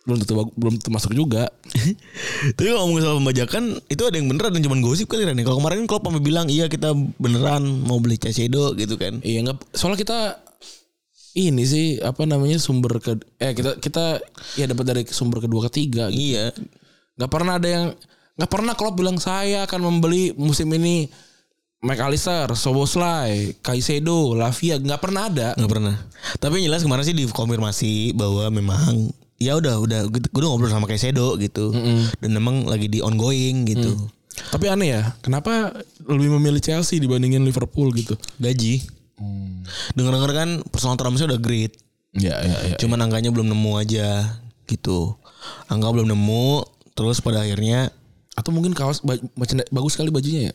[SPEAKER 3] belum tentu bag- belum tentu masuk juga.
[SPEAKER 2] tapi kalau ngomongin soal pembajakan itu ada yang beneran dan cuma gosip kan Ren? kalau kemarin Klopp sampai bilang iya kita beneran mau beli Caicedo gitu kan
[SPEAKER 3] Iya nggak. Soalnya kita ini sih apa namanya sumber ke eh kita kita ya dapat dari sumber kedua ketiga gitu.
[SPEAKER 2] iya
[SPEAKER 3] Gak pernah ada yang Gak pernah Klopp bilang saya akan membeli musim ini McAllister, Soboslai, Kaisedo, Lavia Gak pernah ada
[SPEAKER 2] nggak pernah tapi yang jelas kemarin sih dikonfirmasi bahwa memang ya udah udah gue udah ngobrol sama Caicedo gitu dan memang lagi di ongoing gitu
[SPEAKER 3] Tapi aneh ya Kenapa lebih memilih Chelsea dibandingin Liverpool gitu
[SPEAKER 2] gaji dengar dengar kan personal termsnya udah great
[SPEAKER 3] Ya ya ya
[SPEAKER 2] Cuman angkanya belum nemu aja gitu. Angka belum nemu, terus pada akhirnya
[SPEAKER 3] Atau mungkin kaos ba- merchandise- Bagus sekali bajunya ya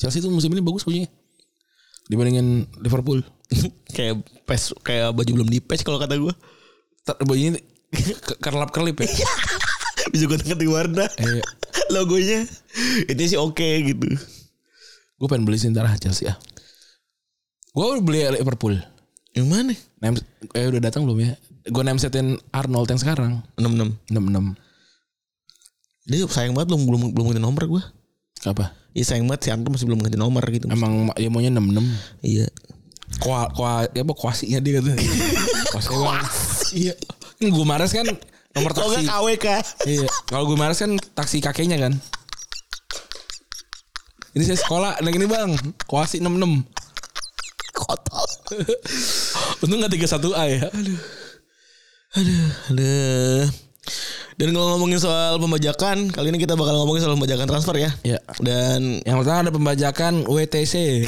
[SPEAKER 3] Chelsea tuh musim ini bagus bajunya Dibandingin Liverpool
[SPEAKER 2] kayak pes kayak baju belum dipes kalau kata gue.
[SPEAKER 3] Ter- Bajunya kerlap kerlip ya
[SPEAKER 2] Bisa gue tengah warna.
[SPEAKER 3] Eh,
[SPEAKER 2] Logonya itu sih oke gitu.
[SPEAKER 3] Gue pengen beli sini ntar ah, Chelsea ah Gue beli Liverpool
[SPEAKER 2] Yang mana?
[SPEAKER 3] Name, eh udah datang belum ya? Gue namesetin Arnold yang sekarang
[SPEAKER 2] 66.
[SPEAKER 3] 66
[SPEAKER 2] Dia sayang banget belum belum belum ganti nomor gue.
[SPEAKER 3] Apa?
[SPEAKER 2] Iya sayang banget si Anto masih belum ganti nomor gitu.
[SPEAKER 3] Emang ma- dia maunya 66
[SPEAKER 2] Iya.
[SPEAKER 3] Koa, koa, ya apa kuasinya dia katanya Kuasinya bang. Iya Kan gue Mares kan nomor
[SPEAKER 2] Kalau
[SPEAKER 3] taksi
[SPEAKER 2] nggak KWK.
[SPEAKER 3] Iya Kalau gue Mares kan taksi kakeknya kan Ini saya sekolah Nah ini bang Kuasi 66
[SPEAKER 2] Kotor.
[SPEAKER 3] Untung gak 31A ya Aduh
[SPEAKER 2] Aduh. Dan kalau ngomongin soal pembajakan, kali ini kita bakal ngomongin soal pembajakan transfer ya.
[SPEAKER 3] Iya.
[SPEAKER 2] Dan
[SPEAKER 3] Yang pertama ada pembajakan WTC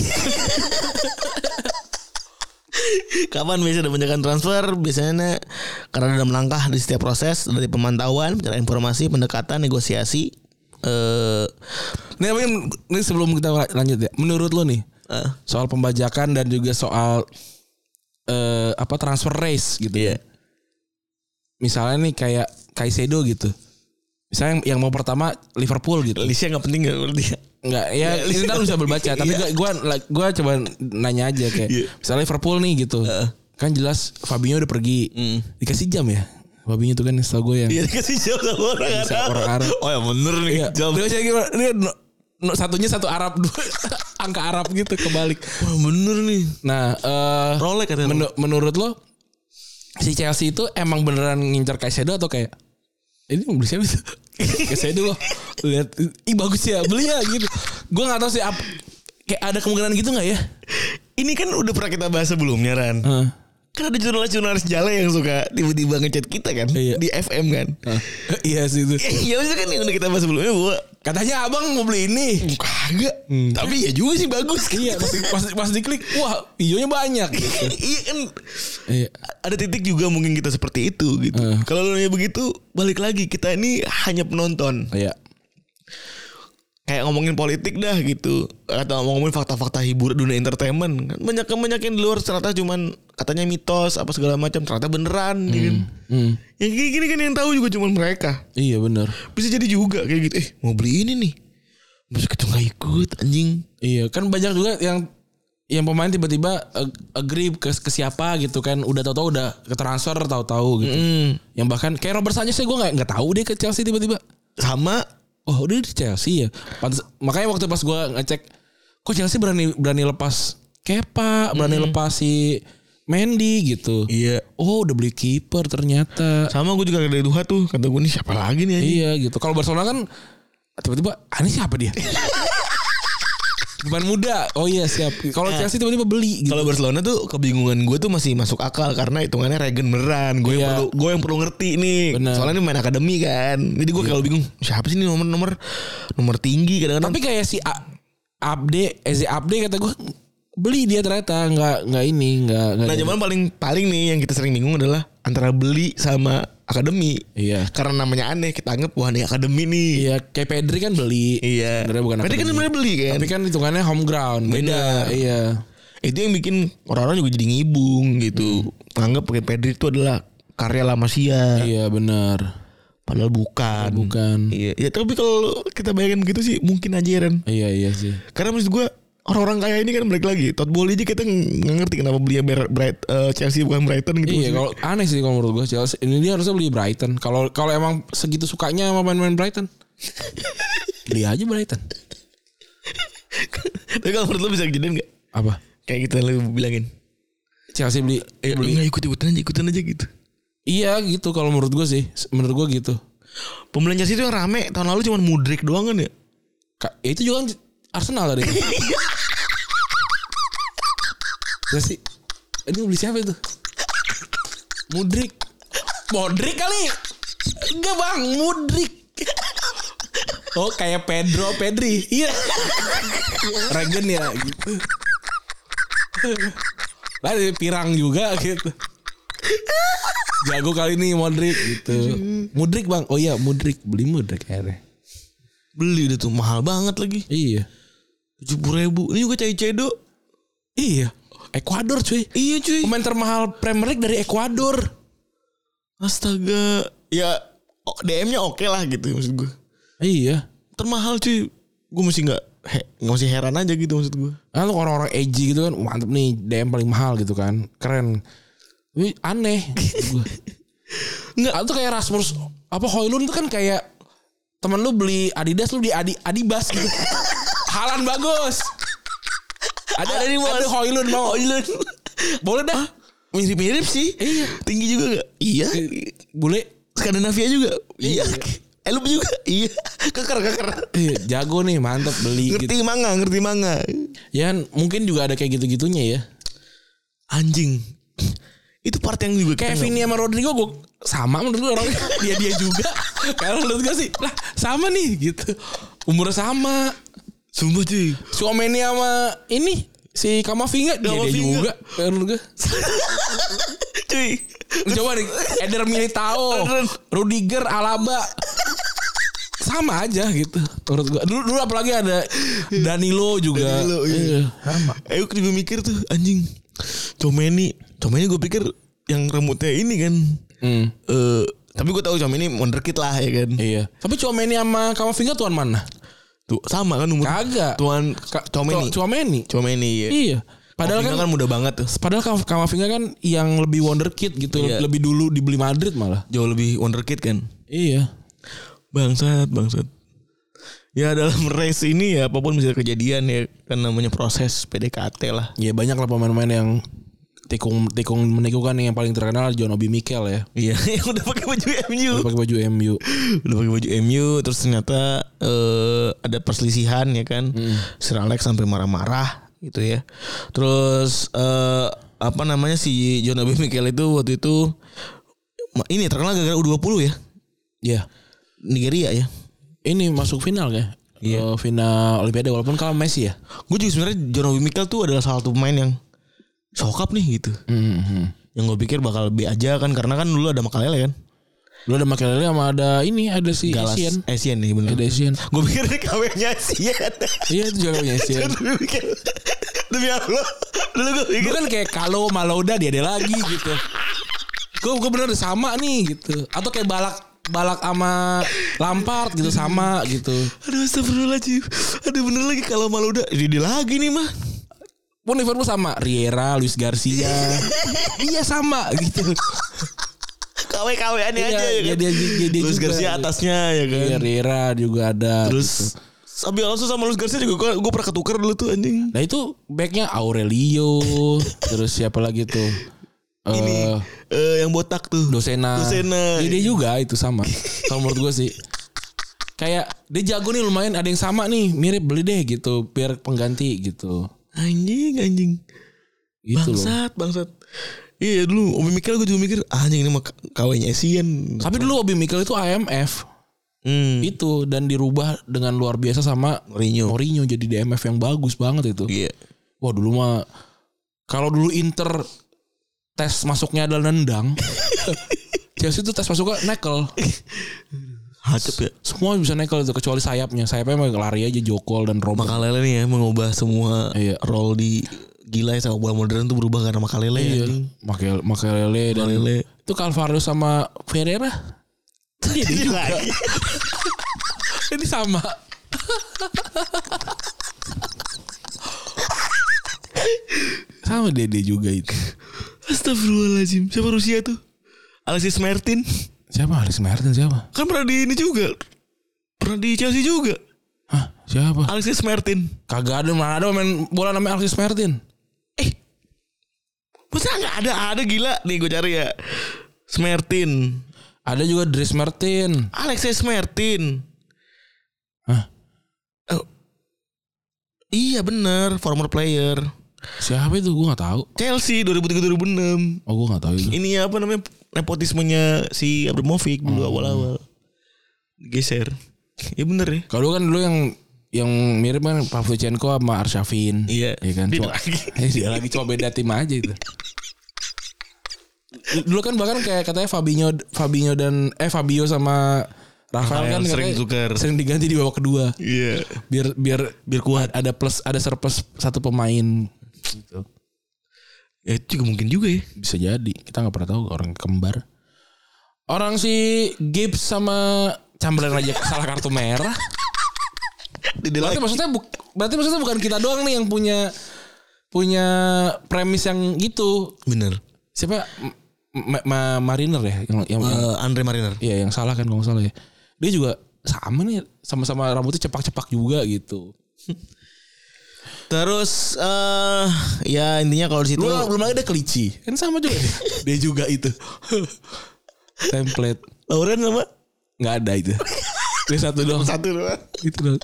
[SPEAKER 2] Kapan biasanya ada penjagaan transfer? Biasanya karena ada langkah di setiap proses dari pemantauan, pencarian informasi, pendekatan, negosiasi. Eh,
[SPEAKER 3] Nih, tapi ini sebelum kita lanjut ya. Menurut lo nih,
[SPEAKER 2] Eh.
[SPEAKER 3] soal pembajakan dan juga soal eh apa transfer race gitu.
[SPEAKER 2] Iya.
[SPEAKER 3] Misalnya nih kayak Kaisedo gitu. Misalnya yang, yang mau pertama Liverpool gitu.
[SPEAKER 2] listnya nggak penting nggak berarti ya?
[SPEAKER 3] Enggak, ya ini ntar lu bisa berbaca, tapi gua gua gua coba nanya aja kayak
[SPEAKER 2] Iya.
[SPEAKER 3] misalnya Liverpool nih gitu. Kan jelas Fabinho udah pergi.
[SPEAKER 2] Mm.
[SPEAKER 3] Dikasih jam ya. Fabinho tuh kan
[SPEAKER 2] Iya.
[SPEAKER 3] setahu gue yang
[SPEAKER 2] Dia dikasih jawab sama orang
[SPEAKER 3] Bisa
[SPEAKER 2] Arab.
[SPEAKER 3] orang Arab.
[SPEAKER 2] Oh ya bener nih
[SPEAKER 3] Iya.
[SPEAKER 2] jawab.
[SPEAKER 3] Terus saya kira, ini no- no- satunya satu Arab dua angka Arab gitu kebalik.
[SPEAKER 2] Wah bener nih.
[SPEAKER 3] Nah, eh
[SPEAKER 2] Rolek katanya.
[SPEAKER 3] menu- menurut lo si Chelsea itu emang beneran ngincar Caicedo atau kayak ini mau beli siapa itu? Caicedo loh. Lihat ih bagus ya, beli ya gitu. Gue nggak tahu sih ap- kayak ada kemungkinan gitu nggak ya?
[SPEAKER 2] Ini kan udah pernah kita bahas sebelumnya Ran.
[SPEAKER 3] Heeh.
[SPEAKER 2] Kan ada jurnalis-jurnalis jale yang suka tiba-tiba ngechat kita kan.
[SPEAKER 3] Iya.
[SPEAKER 2] Di FM kan.
[SPEAKER 3] iya sih itu.
[SPEAKER 2] Ya, ya maksudnya kan yang udah kita bahas sebelumnya bahwa "Oh,
[SPEAKER 3] Katanya abang mau beli ini.
[SPEAKER 2] kagak. Tapi ya juga sih bagus. kan.
[SPEAKER 3] Iya, pas, pas, pas diklik, wah, hijaunya banyak. Gitu.
[SPEAKER 2] iya kan
[SPEAKER 3] Iya.
[SPEAKER 2] ada titik juga mungkin kita seperti itu gitu.
[SPEAKER 3] Eh.
[SPEAKER 2] Kalau lu nanya begitu balik lagi kita ini hanya penonton.
[SPEAKER 3] Iya.
[SPEAKER 2] Kayak ngomongin politik dah gitu atau ngomongin fakta-fakta hiburan dunia entertainment kan banyak banyak yang di luar ternyata cuman katanya mitos apa segala macam ternyata beneran ya kan.
[SPEAKER 3] Hmm.
[SPEAKER 2] Yang kayak gini kan yang tahu juga cuman mereka.
[SPEAKER 3] Iya benar.
[SPEAKER 2] Bisa jadi juga kayak gitu. Eh mau beli ini nih. Masa kita nggak ikut anjing.
[SPEAKER 3] Iya, kan banyak juga yang yang pemain tiba-tiba ag- agree ke, ke siapa gitu kan udah tahu-tahu udah ke transfer tahu-tahu gitu.
[SPEAKER 2] Hmm.
[SPEAKER 3] Yang bahkan kayak Robert Sanchez gue nggak nggak tahu dia ke Chelsea tiba-tiba.
[SPEAKER 2] Sama
[SPEAKER 3] Oh udah di Chelsea ya. Pantes- makanya waktu pas gue ngecek, kok Chelsea berani berani lepas Kepa, berani lepas si Mendy gitu.
[SPEAKER 2] Iya.
[SPEAKER 3] Oh udah beli kiper ternyata.
[SPEAKER 2] sama gue juga ada Duha tuh kata gue nih siapa lagi nih anjing.
[SPEAKER 3] Iya gitu. Kalau Barcelona kan tiba-tiba "Ah, ini siapa dia? Pemain muda. Oh iya siap. Kalau Chelsea tiba-tiba beli gitu.
[SPEAKER 2] Eh. Kalau Barcelona tuh kebingungan gue tuh masih masuk akal karena hitungannya Regen beneran. Gue yang
[SPEAKER 3] Iya.
[SPEAKER 2] perlu gue yang perlu ngerti nih.
[SPEAKER 3] Bener. Iya.
[SPEAKER 2] Soalnya ini main akademi kan. Jadi gue kalau bingung siapa sih ini nomor nomor nomor tinggi kadang-kadang.
[SPEAKER 3] Tapi kayak si A- Abde, eh, si Abde kata gue beli dia ternyata nggak nggak ini nggak nggak.
[SPEAKER 2] nah zaman paling paling nih yang kita sering bingung adalah antara beli sama akademi.
[SPEAKER 3] Iya.
[SPEAKER 2] Karena namanya aneh kita anggap wah ini akademi nih.
[SPEAKER 3] Iya, kayak Pedri kan beli.
[SPEAKER 2] Iya.
[SPEAKER 3] Sebenarnya bukan
[SPEAKER 2] Berarti kan
[SPEAKER 3] akademi.
[SPEAKER 2] sebenarnya beli kan.
[SPEAKER 3] Tapi kan hitungannya home ground. Beda.
[SPEAKER 2] Beda.
[SPEAKER 3] Iya.
[SPEAKER 2] itu yang bikin orang-orang juga jadi ngibung gitu.
[SPEAKER 3] Hmm.
[SPEAKER 2] Anggap pakai Pedri itu adalah karya La Masia.
[SPEAKER 3] Iya benar.
[SPEAKER 2] Padahal bukan.
[SPEAKER 3] Bukan.
[SPEAKER 2] Iya, ya, tapi kalau kita bayangin gitu sih mungkin aja ya, Ren.
[SPEAKER 3] Iya iya sih.
[SPEAKER 2] Karena maksud gue orang-orang kaya ini kan balik lagi. Todd Bowley aja kita ng- nggak ngerti kenapa belinya Ber- Bright- eh, Chelsea bukan Brighton gitu.
[SPEAKER 3] Iya
[SPEAKER 2] maksudnya.
[SPEAKER 3] kalau aneh sih kalau menurut gue Chelsea ini dia harusnya beli Brighton. Kalau kalau emang segitu sukanya sama main-main Brighton. beli aja Brighton.
[SPEAKER 2] tapi kalau menurut lo bisa kejadian nggak?
[SPEAKER 3] Apa?
[SPEAKER 2] Kayak gitu yang lo bilangin.
[SPEAKER 3] Chelsea beli
[SPEAKER 2] Eh, nggak ikut ikutan aja, ikutan aja gitu.
[SPEAKER 3] Iya gitu kalau menurut gue sih. Menurut gue gitu.
[SPEAKER 2] Pembelian Chelsea itu yang rame tahun lalu cuma Mudrik doang kan ya?
[SPEAKER 3] Ka- ya itu juga kan Arsenal tadi. ya sih. Ini beli siapa itu? Mudrik. Modrik kali. Enggak bang, Mudrik. Oh kayak Pedro Pedri. Iya. Regen ya gitu. Lah dia pirang juga gitu. Jago kali ini Modric gitu. Mudrik bang. Oh iya Mudrik. Beli Mudrik akhirnya.
[SPEAKER 2] Beli udah tuh mahal banget lagi.
[SPEAKER 3] Iya.
[SPEAKER 2] Tujuh ribu. Ini juga Caicedo.
[SPEAKER 3] Iya. Ekuador cuy.
[SPEAKER 2] Iya cuy.
[SPEAKER 3] Pemain termahal Premier League dari Ekuador.
[SPEAKER 2] Astaga. Ya oh, DM-nya oke lah gitu maksud gue.
[SPEAKER 3] Iya.
[SPEAKER 2] termahal cuy gue masih nggak he, nggak masih heran aja gitu maksud gue
[SPEAKER 3] Nah, lu orang-orang edgy gitu kan mantep nih DM paling mahal gitu kan. Keren. Tapi aneh. Enggak, itu kayak Rasmus apa Hoylun tuh kan kayak temen lu beli Adidas lu di Adi Adibas gitu. Halan bagus. Ada ada nih ada Hoylun mau. Hoylun. Boleh dah.
[SPEAKER 2] mirip mirip sih
[SPEAKER 3] Iya.
[SPEAKER 2] tinggi juga nggak iya
[SPEAKER 3] Boleh.
[SPEAKER 2] Skandinavia juga iya Elup juga iya keker keker
[SPEAKER 3] Iya, jago nih, mantep beli gitu.
[SPEAKER 2] ngerti manga ngerti manga
[SPEAKER 3] Ya mungkin juga ada kayak gitu-gitunya ya.
[SPEAKER 2] anjing itu part yang juga kita
[SPEAKER 3] Kevin
[SPEAKER 2] nggak-
[SPEAKER 3] sama Rodrigo gue sama menurut gue orang dia dia juga kalau menurut gue sih lah sama nih gitu umurnya sama
[SPEAKER 2] sumpah cuy
[SPEAKER 3] suaminya sama ini si Kamavinga Iya, dia, dia
[SPEAKER 2] Kamavinga.
[SPEAKER 3] juga menurut gue
[SPEAKER 2] cuy
[SPEAKER 3] coba nih Eder Militao Rudiger Alaba sama aja gitu menurut gue dulu dulu apalagi ada Danilo juga
[SPEAKER 2] Danilo, iya.
[SPEAKER 3] sama
[SPEAKER 2] Ayo juga mikir tuh anjing Comeni Comeni gue pikir yang rambutnya ini kan
[SPEAKER 3] Hmm,
[SPEAKER 2] Eh, tapi gue tahu Comeni wonderkid lah ya kan
[SPEAKER 3] iya tapi Chouameni sama Kamavinga tuan mana
[SPEAKER 2] tuh sama kan umur
[SPEAKER 3] kagak
[SPEAKER 2] tuan
[SPEAKER 3] Ka-
[SPEAKER 2] Comeni
[SPEAKER 3] Chouameni
[SPEAKER 2] Comeni iya
[SPEAKER 3] iya padahal
[SPEAKER 2] Kamavinga
[SPEAKER 3] kan
[SPEAKER 2] kan muda banget tuh.
[SPEAKER 3] Padahal Kam- Kamavinga kan yang lebih wonderkid gitu,
[SPEAKER 2] Iya.
[SPEAKER 3] lebih dulu dibeli Madrid malah.
[SPEAKER 2] Jauh lebih wonderkid kan.
[SPEAKER 3] Iya.
[SPEAKER 2] Bangsat, bangsat. ya dalam race ini ya apapun bisa kejadian ya kan namanya proses PDKT lah.
[SPEAKER 3] Ya banyak lah pemain-pemain yang tikung tikung menikukan yang paling terkenal John Obi Mikel ya.
[SPEAKER 2] Iya, yang udah pakai baju MU.
[SPEAKER 3] Dia pakai baju MU.
[SPEAKER 2] Udah pakai baju MU terus ternyata eh, ada perselisihan ya kan. Sir Alex sampai marah-marah gitu ya. Terus eh, apa namanya si John Obi Mikel itu waktu itu ma- ini terkenal gara-gara U20 ya.
[SPEAKER 3] Ya.
[SPEAKER 2] Nigeria ya.
[SPEAKER 3] Ini masuk final ya.
[SPEAKER 2] Iya.
[SPEAKER 3] Eh, final Olimpiade walaupun kalah Messi ya.
[SPEAKER 2] Gue juga sebenarnya John Obi Mikel tuh adalah salah satu pemain yang sokap nih gitu.
[SPEAKER 3] Mhm.
[SPEAKER 2] Yang gue pikir bakal B aja kan karena kan dulu ada Makalele kan.
[SPEAKER 3] Lu ada Makelele sama ada ini ada si
[SPEAKER 2] Galas
[SPEAKER 3] Iya, Asian. Iya,
[SPEAKER 2] Asian nih bener.
[SPEAKER 3] Ada Asian.
[SPEAKER 2] Gue pikir KW-nya Asian.
[SPEAKER 3] Iya itu jawabannya Asian.
[SPEAKER 2] Demi mikir Demi Allah Dulu gue
[SPEAKER 3] Gue
[SPEAKER 2] pikir
[SPEAKER 3] kan kayak kalau Malouda dia ada lagi gitu. Gue gue bener sama nih gitu. Atau kayak balak balak sama Lampard gitu sama gitu.
[SPEAKER 2] Aduh astagfirullahaladzim Aduh bener lagi Kalau malu udah Ini dia lagi nih mah
[SPEAKER 3] Pun Liverpool sama Riera, Luis Garcia. iya sama gitu.
[SPEAKER 2] KW-KW-annya
[SPEAKER 3] Iya,
[SPEAKER 2] aja ya
[SPEAKER 3] iya,
[SPEAKER 2] kan
[SPEAKER 3] dia- dia- dia
[SPEAKER 2] Luis
[SPEAKER 3] juga.
[SPEAKER 2] Garcia atasnya ya kan
[SPEAKER 3] Iya Riera juga ada.
[SPEAKER 2] Terus Abi Alonso sama Luis Garcia juga Gue pernah ketukar dulu tuh anjing
[SPEAKER 3] Nah itu backnya Aurelio Terus siapa lagi tuh
[SPEAKER 2] Ini
[SPEAKER 3] Eh,
[SPEAKER 2] eh, Yang botak tuh
[SPEAKER 3] Dosena
[SPEAKER 2] Dosena.
[SPEAKER 3] Iya, Dia juga itu sama Kalau menurut gue sih Kayak dia jago nih lumayan Ada yang sama nih mirip beli deh gitu Biar pengganti gitu
[SPEAKER 2] Anjing anjing
[SPEAKER 3] Gitu loh
[SPEAKER 2] Bangsat Bangsat Iya dulu Obi Mikel gue juga mikir Anjing ini mah KW-nya Asian
[SPEAKER 3] Tapi dulu Obi Mikel itu IMF
[SPEAKER 2] hmm.
[SPEAKER 3] Itu dan dirubah dengan luar biasa sama
[SPEAKER 2] Mourinho
[SPEAKER 3] Mourinho jadi DMF yang bagus banget itu
[SPEAKER 2] Iya
[SPEAKER 3] Wah dulu mah kalau dulu Inter tes masuknya adalah nendang. Chelsea itu tes masuknya nekel.
[SPEAKER 2] Hacep ya
[SPEAKER 3] Semua bisa nekel itu kecuali sayapnya. Sayapnya emang lari aja Jokol dan Robert.
[SPEAKER 2] Makalele nih ya mengubah semua
[SPEAKER 3] Iya.
[SPEAKER 2] role di gila ya sama bola modern tuh berubah karena Makalele ya.
[SPEAKER 3] Iya. Makel Makelele dan
[SPEAKER 2] Makalele.
[SPEAKER 3] itu Calvario sama Ferreira. Iya
[SPEAKER 2] Jadi lagi.
[SPEAKER 3] Ini sama. sama Dede juga itu.
[SPEAKER 2] Astagfirullahaladzim. Siapa Rusia tuh? Alexis Martin.
[SPEAKER 3] Siapa Alex Martin siapa?
[SPEAKER 2] Kan pernah di ini juga. Pernah di Chelsea juga.
[SPEAKER 3] Hah, siapa?
[SPEAKER 2] Alexis Martin.
[SPEAKER 3] Kagak ada mana ada main bola namanya Alexis Martin.
[SPEAKER 2] Eh. Masa gak ada? Ada gila. Nih gue cari ya. Smertin.
[SPEAKER 3] Ada juga Dries Martin.
[SPEAKER 2] Alexis Martin.
[SPEAKER 3] Hah?
[SPEAKER 2] Oh. Iya bener. Former player.
[SPEAKER 3] Siapa itu gue nggak tahu.
[SPEAKER 2] Chelsea 2003-2006.
[SPEAKER 3] Oh gue nggak tahu itu.
[SPEAKER 2] ini apa namanya nepotismenya si Abramovich dulu awal-awal geser ya bener ya
[SPEAKER 3] Kalau dulu kan dulu yang yang mirip kan Pavlyuchenko sama Arshavin.
[SPEAKER 2] Iya.
[SPEAKER 3] Iya kan.
[SPEAKER 2] Dia
[SPEAKER 3] Cuma,
[SPEAKER 2] lagi.
[SPEAKER 3] Eh, dia lagi cuma beda tim aja itu. Dulu kan bahkan kayak katanya Fabinho Fabinho dan eh Fabio sama Rafael kan
[SPEAKER 2] Rafael sering
[SPEAKER 3] katanya
[SPEAKER 2] tukar.
[SPEAKER 3] sering diganti di babak kedua.
[SPEAKER 2] iya
[SPEAKER 3] Biar biar biar kuat ada plus ada surplus satu pemain gitu.
[SPEAKER 2] ya itu juga mungkin juga ya
[SPEAKER 3] Bisa jadi. Kita nggak pernah tahu orang kembar. Orang si Gibbs sama Chamberlain aja salah kartu merah. Berarti maksudnya bu- berarti maksudnya bukan kita doang nih yang punya punya premis yang gitu.
[SPEAKER 2] bener
[SPEAKER 3] Siapa M- M- Ma- Mariner ya yang yang, yang-
[SPEAKER 2] Eh, Andre Mariner
[SPEAKER 3] iya, yang salah kan kalau nggak salah ya. Dia juga sama nih sama-sama rambutnya cepak-cepak juga gitu.
[SPEAKER 2] terus eh ya intinya kalau di situ
[SPEAKER 3] belum lagi ada kelici. Kan sama juga dia. dia juga itu. Template
[SPEAKER 2] Lauren sama
[SPEAKER 3] nggak ada itu. Dia satu doang.
[SPEAKER 2] satu Gitu doang
[SPEAKER 3] Itu doang.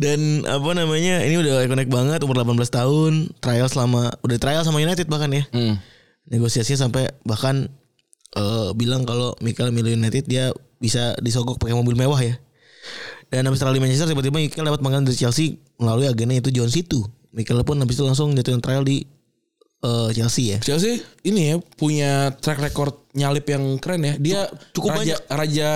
[SPEAKER 2] dan apa namanya ini udah ikonik banget umur 18 tahun trial selama udah trial sama United bahkan ya
[SPEAKER 3] Hmm.
[SPEAKER 2] negosiasinya sampai bahkan eh, bilang kalau Mikel milih United dia bisa disogok pakai mobil mewah ya. Dan habis trial di Manchester tiba-tiba Mikel dapat panggilan dari Chelsea melalui agennya itu John Situ. Mikel pun habis itu langsung jatuhin trial di eh, Chelsea ya.
[SPEAKER 3] Chelsea ini ya punya track record nyalip yang keren ya. Dia
[SPEAKER 2] Cukup
[SPEAKER 3] raja, raja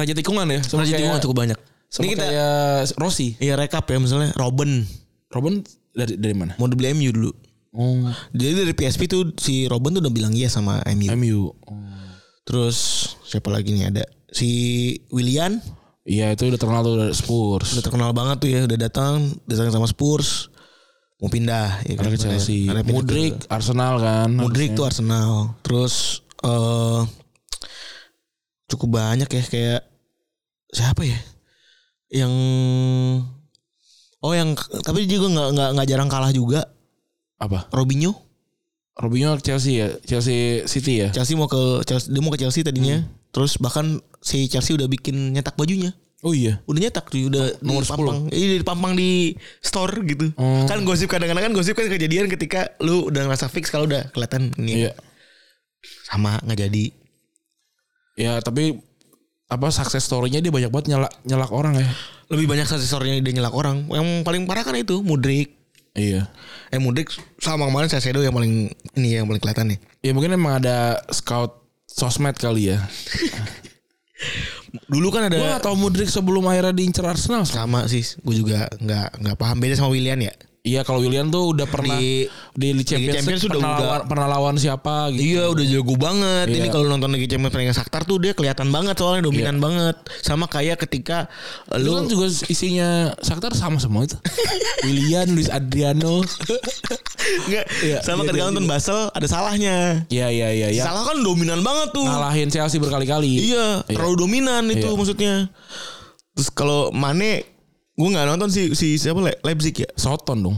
[SPEAKER 3] raja tikungan ya.
[SPEAKER 2] Raja
[SPEAKER 3] Sama kayak-
[SPEAKER 2] tikungan cukup banyak.
[SPEAKER 3] Sama kayak Rossi.
[SPEAKER 2] Iya rekap ya misalnya Robin
[SPEAKER 3] Robin dari dari mana?
[SPEAKER 2] mau dibeli MU dulu.
[SPEAKER 3] Oh,
[SPEAKER 2] Jadi dari PSP tuh si Robin tuh udah bilang iya sama MU.
[SPEAKER 3] MU.
[SPEAKER 2] Terus siapa lagi nih ada si Willian
[SPEAKER 3] Iya itu udah terkenal tuh dari Spurs.
[SPEAKER 2] udah terkenal banget tuh ya udah datang datang sama Spurs mau pindah ya
[SPEAKER 3] Karena ke Chelsea.
[SPEAKER 2] Karena pindah ke-
[SPEAKER 3] Mudrik Arsenal kan.
[SPEAKER 2] Mudrik tuh Arsenal terus eh cukup banyak ya kayak siapa ya yang oh yang tapi dia juga nggak nggak nggak jarang kalah juga
[SPEAKER 3] Apa?
[SPEAKER 2] Robinho
[SPEAKER 3] Robinho Chelsea ya, Chelsea City ya.
[SPEAKER 2] Chelsea mau ke Chelsea dia mau ke Chelsea
[SPEAKER 3] Hmm.
[SPEAKER 2] tadinya terus bahkan si Chelsea udah bikin nyetak bajunya
[SPEAKER 3] Oh iya.
[SPEAKER 2] udah nyetak tuh, udah
[SPEAKER 3] Nomor
[SPEAKER 2] dipampang iya dipampang di store gitu
[SPEAKER 3] Hmm.
[SPEAKER 2] kan gosip kadang-kadang kan gosip kan kejadian ketika lu udah ngerasa fix kalau udah kelihatan nih
[SPEAKER 3] Iya.
[SPEAKER 2] sama nggak jadi Iya.
[SPEAKER 3] Ya tapi apa sukses story-nya dia banyak banget nyelak nyelak orang ya.
[SPEAKER 2] lebih banyak sensornya dia nyelak orang yang paling parah kan itu Mudrik
[SPEAKER 3] Iya.
[SPEAKER 2] eh Mudrik sama kemarin Sasedo yang paling ini yang paling kelihatan nih
[SPEAKER 3] Ya mungkin emang ada scout sosmed kali ya.
[SPEAKER 2] dulu kan ada
[SPEAKER 3] Gua gak tau Mudrik sebelum akhirnya diincer Arsenal.
[SPEAKER 2] sama sih gue juga nggak nggak paham beda sama Willian ya
[SPEAKER 3] Iya kalau William tuh udah pernah
[SPEAKER 2] Di-
[SPEAKER 3] di, Liga Champions,
[SPEAKER 2] Champions
[SPEAKER 3] pernah,
[SPEAKER 2] udah- udah-
[SPEAKER 3] lawan, pernah lawan siapa gitu.
[SPEAKER 2] Iya udah jago banget.
[SPEAKER 3] Iya.
[SPEAKER 2] Ini kalau nonton lagi Champions League Saktar tuh dia kelihatan banget soalnya dominan
[SPEAKER 3] Iya.
[SPEAKER 2] banget. Sama kayak ketika
[SPEAKER 3] Lu
[SPEAKER 2] lu
[SPEAKER 3] kan juga isinya Shakhtar sama semua itu. William, Luis Adriano.
[SPEAKER 2] Nggak,
[SPEAKER 3] Iya,
[SPEAKER 2] sama
[SPEAKER 3] iya,
[SPEAKER 2] ketika
[SPEAKER 3] iya,
[SPEAKER 2] nonton Basel ada salahnya.
[SPEAKER 3] Iya iya iya iya.
[SPEAKER 2] Salah kan dominan banget tuh.
[SPEAKER 3] Ngalahin Chelsea berkali-kali.
[SPEAKER 2] Iya, terlalu dominan itu
[SPEAKER 3] Iya.
[SPEAKER 2] maksudnya. Terus kalau Mane gue nggak nonton si si siapa Le- Leipzig ya.
[SPEAKER 3] Soton dong.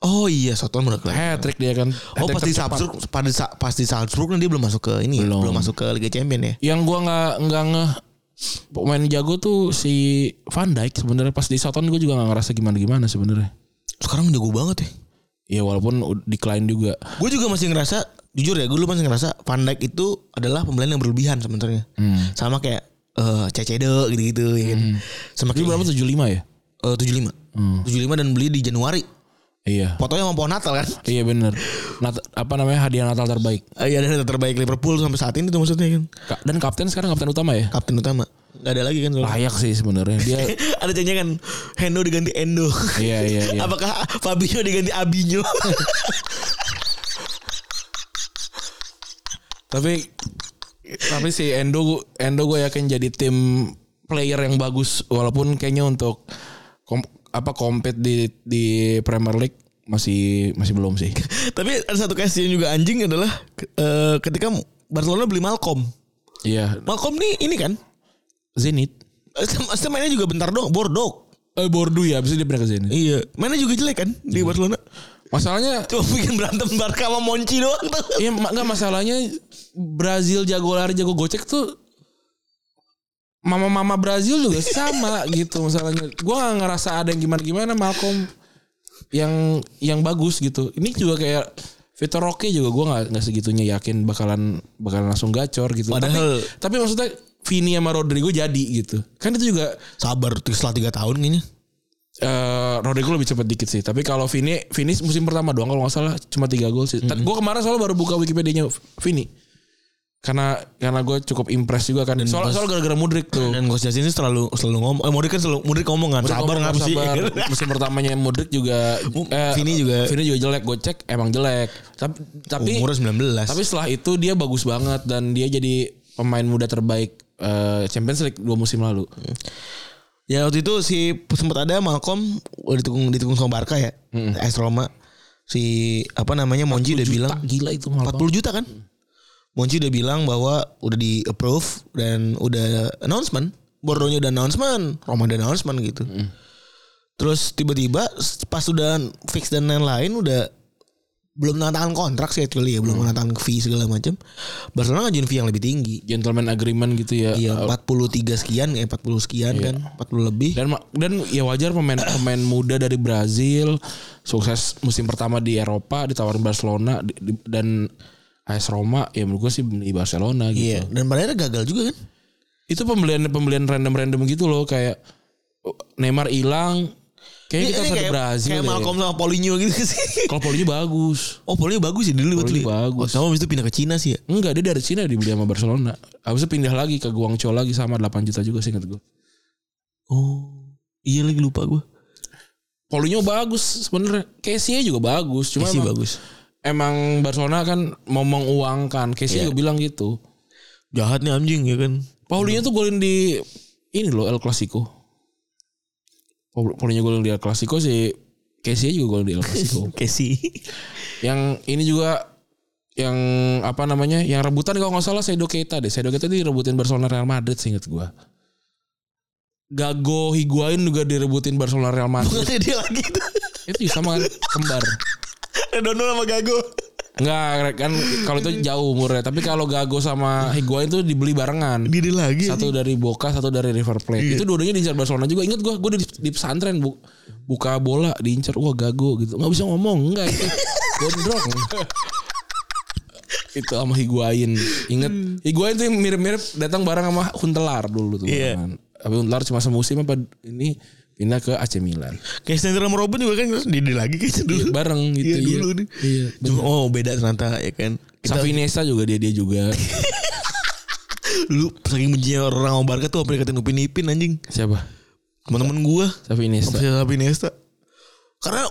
[SPEAKER 2] Oh iya, Soton udah kelihatan.
[SPEAKER 3] Hat trick dia kan.
[SPEAKER 2] Oh
[SPEAKER 3] Hat-trick
[SPEAKER 2] pasti
[SPEAKER 3] tercepat.
[SPEAKER 2] Salzburg pada sa- pasti Salzburg kan dia belum masuk ke ini ya,
[SPEAKER 3] Belum.
[SPEAKER 2] belum, masuk ke Liga Champion ya.
[SPEAKER 3] Yang gua nggak nggak ngeh pemain jago tuh si Van Dijk sebenarnya pas di Soton gue juga nggak ngerasa gimana-gimana sebenarnya.
[SPEAKER 2] Sekarang jago banget ya.
[SPEAKER 3] Ya walaupun ud- decline juga.
[SPEAKER 2] Gue juga masih ngerasa jujur ya, gue dulu masih ngerasa Van Dijk itu adalah pembelian yang berlebihan sebenarnya.
[SPEAKER 3] Hmm.
[SPEAKER 2] Sama kayak eh Cecedo gitu-gitu ya kan. Sama
[SPEAKER 3] Dia
[SPEAKER 2] kayak
[SPEAKER 3] berapa 75 ya?
[SPEAKER 2] eh, 75. 75 dan beli di Januari.
[SPEAKER 3] Iya.
[SPEAKER 2] Fotonya sama pohon Natal kan.
[SPEAKER 3] Iya bener Nat- Apa namanya hadiah Natal terbaik
[SPEAKER 2] Eh, Iya ada terbaik Liverpool sampai saat ini tuh maksudnya kan.
[SPEAKER 3] Ka- Dan kapten sekarang kapten utama ya
[SPEAKER 2] Kapten utama. Gak ada lagi kan soalnya.
[SPEAKER 3] Layak sih sebenarnya Dia
[SPEAKER 2] ada janjian kan Hendo diganti Endo.
[SPEAKER 3] Iya iya iya
[SPEAKER 2] Apakah Fabinho diganti Abinho?
[SPEAKER 3] Tapi Tapi si Endo Endo gue yakin jadi tim Player yang bagus Walaupun kayaknya untuk kom- Apa compete di, di Premier League Masih masih belum sih
[SPEAKER 2] Tapi ada satu case yang juga anjing adalah eh, ketika Barcelona beli Malcolm.
[SPEAKER 3] Iya
[SPEAKER 2] Malcolm nih ini kan
[SPEAKER 3] Zenit
[SPEAKER 2] Maksudnya mainnya juga bentar dong, Bordeaux.
[SPEAKER 3] Eh Bordeaux ya Abis itu dia pindah ke Zenit
[SPEAKER 2] Iya. Mainnya juga jelek kan di Barcelona.
[SPEAKER 3] Masalahnya
[SPEAKER 2] Cuma bikin berantem Barca sama Monchi doang tuh.
[SPEAKER 3] Iya ma- nggak masalahnya Brazil jago lari jago gocek tuh mama-mama Brazil juga sama gitu masalahnya. Gua nggak ngerasa ada yang gimana-gimana Malcolm yang yang bagus gitu. Ini juga kayak Vitor Roque juga gua nggak nggak segitunya yakin bakalan bakalan langsung gacor gitu.
[SPEAKER 2] Padahal-
[SPEAKER 3] tapi, tapi maksudnya Vini sama Rodrigo jadi gitu. Kan itu juga
[SPEAKER 2] Sabar tuh setelah 3 tahun kayaknya.
[SPEAKER 3] eh Rodrigo lebih cepat dikit sih. Tapi kalau Vini, Vini musim pertama doang kalau nggak salah cuma tiga gol sih. Gue kemarin soalnya baru buka Wikipedia-nya Vini. Karena karena gue cukup impress juga kan.
[SPEAKER 2] pas-
[SPEAKER 3] Soal soal gara-gara Mudrik tuh.
[SPEAKER 2] Dan Coach Justin ini selalu selalu ngomong. Eh Modric kan selalu Modric ngomong kan.
[SPEAKER 3] Mudrik
[SPEAKER 2] Sabar
[SPEAKER 3] ngomong,
[SPEAKER 2] ngapa sih?
[SPEAKER 3] sabar. Musim pertamanya Mudrik juga eh,
[SPEAKER 2] Vini juga-
[SPEAKER 3] Vini juga jelek, gue cek emang jelek. Tapi tapi
[SPEAKER 2] Umurnya 19.
[SPEAKER 3] tapi setelah itu dia bagus banget dan dia jadi pemain muda terbaik eh, Champions League dua musim lalu.
[SPEAKER 2] Hmm. ya waktu itu si sempat ada Malcolm oh, ditukung ditukung sama Barca ya.
[SPEAKER 3] Hmm.
[SPEAKER 2] AS Roma. Si apa namanya Monchi udah bilang
[SPEAKER 3] Tak gila itu Hmm. malah.
[SPEAKER 2] 40 juta kan? Monchi udah bilang bahwa udah di approve dan udah announcement. Bordonya udah announcement, Roma udah announcement gitu.
[SPEAKER 3] Hmm.
[SPEAKER 2] Terus tiba-tiba s- pas udah fix dan lain-lain udah belum menandatangan kontrak sih actually ya, belum
[SPEAKER 3] Hmm.
[SPEAKER 2] menandatangan fee segala macam. Barcelona ngajuin fee yang lebih tinggi.
[SPEAKER 3] Gentleman agreement gitu ya.
[SPEAKER 2] Iya, 43 sekian, eh 40 sekian kan, 40 lebih.
[SPEAKER 3] Iya. dan ma- dan ya wajar pemain pemain muda dari Brazil sukses musim pertama di Eropa ditawarin Barcelona di- di- dan AS Roma ya menurut gue sih di Barcelona gitu.
[SPEAKER 2] Iya, dan pada akhirnya gagal juga kan.
[SPEAKER 3] Itu pembelian pembelian random-random gitu loh kayak oh, Neymar hilang
[SPEAKER 2] Ini-
[SPEAKER 3] kayaknya Eh, kita
[SPEAKER 2] ini
[SPEAKER 3] harus ada
[SPEAKER 2] Iya, kayak,
[SPEAKER 3] Brazil.
[SPEAKER 2] kayak
[SPEAKER 3] deh.
[SPEAKER 2] Malcolm sama Paulinho gitu sih.
[SPEAKER 3] Kalau Paulinho bagus.
[SPEAKER 2] Oh, Paulinho bagus sih dulu
[SPEAKER 3] Paulinho
[SPEAKER 2] betul. ya.
[SPEAKER 3] bagus.
[SPEAKER 2] Oh, sama abis itu pindah ke Cina sih ya.
[SPEAKER 3] Enggak, dia dari Cina dibeli sama Barcelona. Habis itu pindah lagi ke Guangzhou lagi sama 8 juta juga sih ingat gue.
[SPEAKER 2] Oh, iya lagi lupa gue.
[SPEAKER 3] Paulinho bagus sebenarnya. Casey juga bagus, cuma
[SPEAKER 2] Messi
[SPEAKER 3] emang-
[SPEAKER 2] bagus.
[SPEAKER 3] emang Barcelona kan mau menguangkan. Casey juga bilang gitu.
[SPEAKER 2] Jahatnya anjing ya kan.
[SPEAKER 3] Paulinho tuh golin di ini loh El Clasico. Paul- Paulinho golin di El Clasico si Casey juga golin di El Clasico.
[SPEAKER 2] Casey.
[SPEAKER 3] yang ini juga yang apa namanya yang rebutan kalau nggak salah Sedo Keita deh Sedo Keita direbutin Barcelona Real Madrid seingat gua Gago Higuain juga direbutin Barcelona Real Madrid.
[SPEAKER 2] Bukannya dia lagi itu.
[SPEAKER 3] itu sama kan kembar.
[SPEAKER 2] Redondo sama Gago.
[SPEAKER 3] Enggak kan kalau itu jauh umurnya. Tapi kalau Gago sama Higuain itu dibeli barengan.
[SPEAKER 2] Diri lagi.
[SPEAKER 3] Satu dari Boca, satu dari River Plate.
[SPEAKER 2] Iya.
[SPEAKER 3] Itu dua-duanya diincar Barcelona juga. Ingat gua, gua di, di pesantren bu, buka bola diincar. Wah Gago gitu. Nggak bisa ngomong enggak itu. Gondrong. itu sama Higuain. Ingat
[SPEAKER 2] Hmm.
[SPEAKER 3] Higuain tuh yang mirip-mirip datang bareng sama Huntelar dulu tuh.
[SPEAKER 2] Iya.
[SPEAKER 3] barengan. Tapi Huntelar cuma semusim apa ini pindah ke AC Milan.
[SPEAKER 2] Kayak Snyder sama Robin juga kan Diri lagi kayaknya dulu.
[SPEAKER 3] Bareng gitu
[SPEAKER 2] Iya
[SPEAKER 3] iya.
[SPEAKER 2] dulu nih.
[SPEAKER 3] Iya.
[SPEAKER 2] Cuma oh beda ternyata ya kan. Kita
[SPEAKER 3] Savinesa juga dia dia juga.
[SPEAKER 2] dulu saking bencinya orang sama Barca tuh sampai dikatain Upin Ipin anjing.
[SPEAKER 3] Siapa?
[SPEAKER 2] Teman-teman gua
[SPEAKER 3] Safi Iniesta.
[SPEAKER 2] Sapi Sapi Nesta. Karena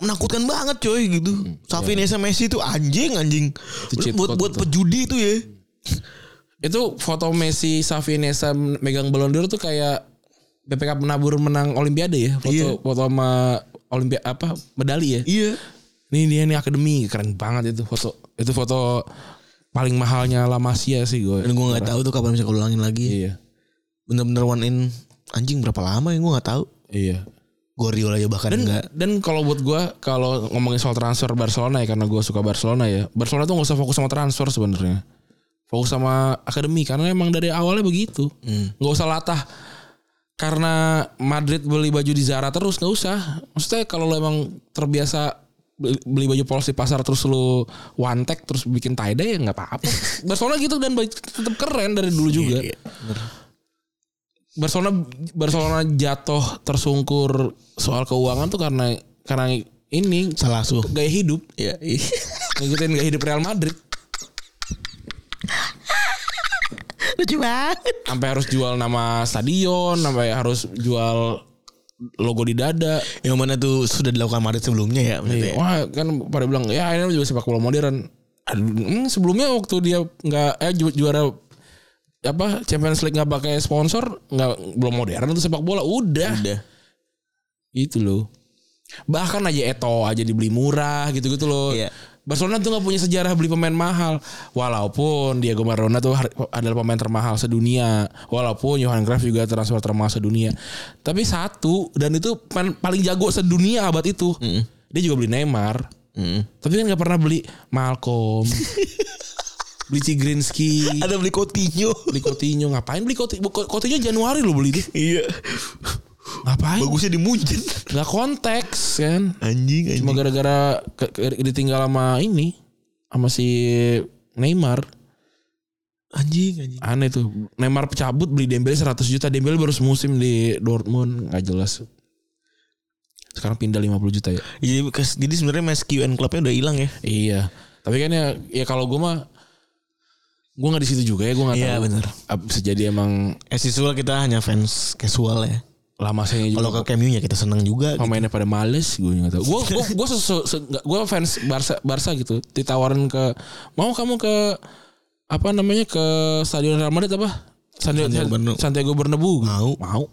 [SPEAKER 2] menakutkan banget coy gitu. Sapi Nesta Messi itu anjing anjing.
[SPEAKER 3] Hmm. Iya. cheat
[SPEAKER 2] buat
[SPEAKER 3] code
[SPEAKER 2] buat
[SPEAKER 3] itu.
[SPEAKER 2] pejudi itu ya.
[SPEAKER 3] Itu foto Messi, Safi Iniesta megang Ballon d'Or tuh kayak BPK penabur menang Olimpiade ya. Foto
[SPEAKER 2] Iya.
[SPEAKER 3] foto sama Olimpia apa medali ya.
[SPEAKER 2] Iya.
[SPEAKER 3] Ini dia nih akademi keren banget itu foto. Itu foto paling mahalnya La Masia sih gue.
[SPEAKER 2] Dan gua nggak tahu tuh kapan bisa keulangin lagi.
[SPEAKER 3] Iya.
[SPEAKER 2] Bener-bener one in anjing berapa lama ya gua nggak tahu.
[SPEAKER 3] Iya.
[SPEAKER 2] Guardiola aja bahkan enggak.
[SPEAKER 3] Dan kalau buat gue kalau ngomongin soal transfer Barcelona ya karena gue suka Barcelona ya. Barcelona tuh nggak usah fokus sama transfer sebenarnya. Fokus sama akademi karena emang dari awalnya begitu.
[SPEAKER 2] Hmm.
[SPEAKER 3] Nggak usah latah karena Madrid beli baju di Zara terus nggak usah. Maksudnya kalau lo emang terbiasa beli- beli baju polos di pasar terus lo one tag terus bikin tie dye ya nggak apa-apa. Barcelona gitu dan baju- tetap keren dari dulu juga.
[SPEAKER 2] Iya,
[SPEAKER 3] Barcelona Barcelona jatuh tersungkur soal keuangan tuh karena karena ini
[SPEAKER 2] Salah su.
[SPEAKER 3] gaya hidup
[SPEAKER 2] Iya. iya.
[SPEAKER 3] ngikutin gaya hidup Real Madrid
[SPEAKER 2] Lucu banget.
[SPEAKER 3] sampai harus jual nama stadion sampai harus jual logo di dada
[SPEAKER 2] Yang mana tuh sudah dilakukan Madrid sebelumnya ya maksudnya.
[SPEAKER 3] wah kan pada bilang ya ini juga sepak bola modern Aduh, hmm, sebelumnya waktu dia nggak eh ju- juara apa Champions League nggak pakai sponsor nggak belum modern tuh sepak bola udah
[SPEAKER 2] ya. Udah.
[SPEAKER 3] Itu loh. Bahkan aja Eto aja dibeli murah gitu-gitu loh.
[SPEAKER 2] Iya.
[SPEAKER 3] Barcelona tuh nggak punya sejarah beli pemain mahal. Walaupun Diego Maradona tuh har- adalah pemain termahal sedunia. Walaupun Johan Cruyff juga transfer termahal sedunia. Tapi satu dan itu pen- paling jago sedunia abad itu. Dia juga beli Neymar.
[SPEAKER 2] Mm.
[SPEAKER 3] Tapi kan nggak pernah beli Malcolm. beli Cigrinski.
[SPEAKER 2] Ada beli Coutinho.
[SPEAKER 3] Beli Coutinho ngapain beli Coutinho? Coutinho Januari loh beli dia.
[SPEAKER 2] iya.
[SPEAKER 3] Ngapain?
[SPEAKER 2] Bagusnya di Munchen.
[SPEAKER 3] Gak konteks kan.
[SPEAKER 2] Anjing anjing.
[SPEAKER 3] Cuma gara-gara ke- ke- ditinggal sama ini sama si Neymar.
[SPEAKER 2] anjing anjing.
[SPEAKER 3] Aneh tuh. Neymar pecabut beli Dembele 100 juta. Dembele baru semusim di Dortmund, nggak jelas. Sekarang pindah 50 juta ya.
[SPEAKER 2] Jadi jadi sebenarnya Mas QN Clubnya udah hilang ya.
[SPEAKER 3] Iya. Tapi kan ya ya kalau gue mah gue nggak di situ juga ya, gue nggak
[SPEAKER 2] Iya,
[SPEAKER 3] tahu.
[SPEAKER 2] benar.
[SPEAKER 3] Ap- Bisa jadi emang
[SPEAKER 2] As usual Eh, kita hanya fans casual ya.
[SPEAKER 3] lama saya juga.
[SPEAKER 2] Kalau ke MU nya kita seneng juga. gitu.
[SPEAKER 3] pemainnya pada males gue nggak tahu gue gue gue se, se- se- nggak- gue fans Barca Barca gitu ditawarin ke mau kamu ke apa namanya ke stadion Real Madrid apa Santiago,
[SPEAKER 2] Santiago Bernabeu.
[SPEAKER 3] Santiago Bernabeu
[SPEAKER 2] Mau.
[SPEAKER 3] mau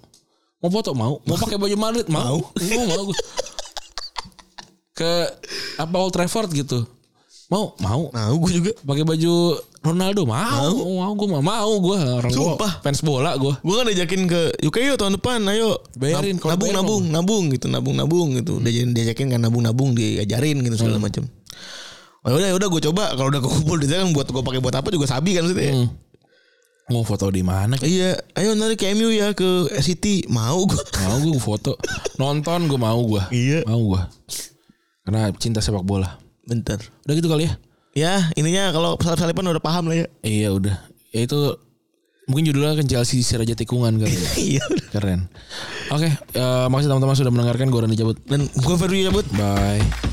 [SPEAKER 3] mau foto mau mau pakai baju Madrid mau mau mau gue. ke apa Old Trafford gitu mau mau
[SPEAKER 2] Nah, gue juga.
[SPEAKER 3] pakai baju Ronaldo mau mau gue mau mau gue orang gue
[SPEAKER 2] Sumpah.
[SPEAKER 3] fans bola gue
[SPEAKER 2] Gue kan diajakin ke UK yuk tahun depan ayo
[SPEAKER 3] Bayarin,
[SPEAKER 2] Nab-
[SPEAKER 3] kalau Hmm.
[SPEAKER 2] nabung
[SPEAKER 3] bayar
[SPEAKER 2] nabung nabung gitu nabung nabung gitu diajakin diajakin kan nabung nabung diajarin gitu
[SPEAKER 3] Hmm.
[SPEAKER 2] segala macam. Oh udah udah gue coba kalau udah kumpul duitnya kan buat gue pakai buat apa juga sabi kan maksudnya.
[SPEAKER 3] Hmm. mau foto di mana
[SPEAKER 2] Iya, ayo nanti ke MU ya ke City mau gue.
[SPEAKER 3] mau gue foto nonton gue mau gue
[SPEAKER 2] Iya.
[SPEAKER 3] mau gue karena cinta sepak bola
[SPEAKER 2] Bentar.
[SPEAKER 3] udah gitu kali ya
[SPEAKER 2] Ya intinya kalau salip-salipan udah paham lah ya.
[SPEAKER 3] iya udah ya itu mungkin judulnya kan Chelsea Siraja Tikungan kali ya.
[SPEAKER 2] Iya. udah.
[SPEAKER 3] keren oke eh, makasih teman-teman sudah mendengarkan gue Rani cabut
[SPEAKER 2] Dan gue baru cabut.
[SPEAKER 3] bye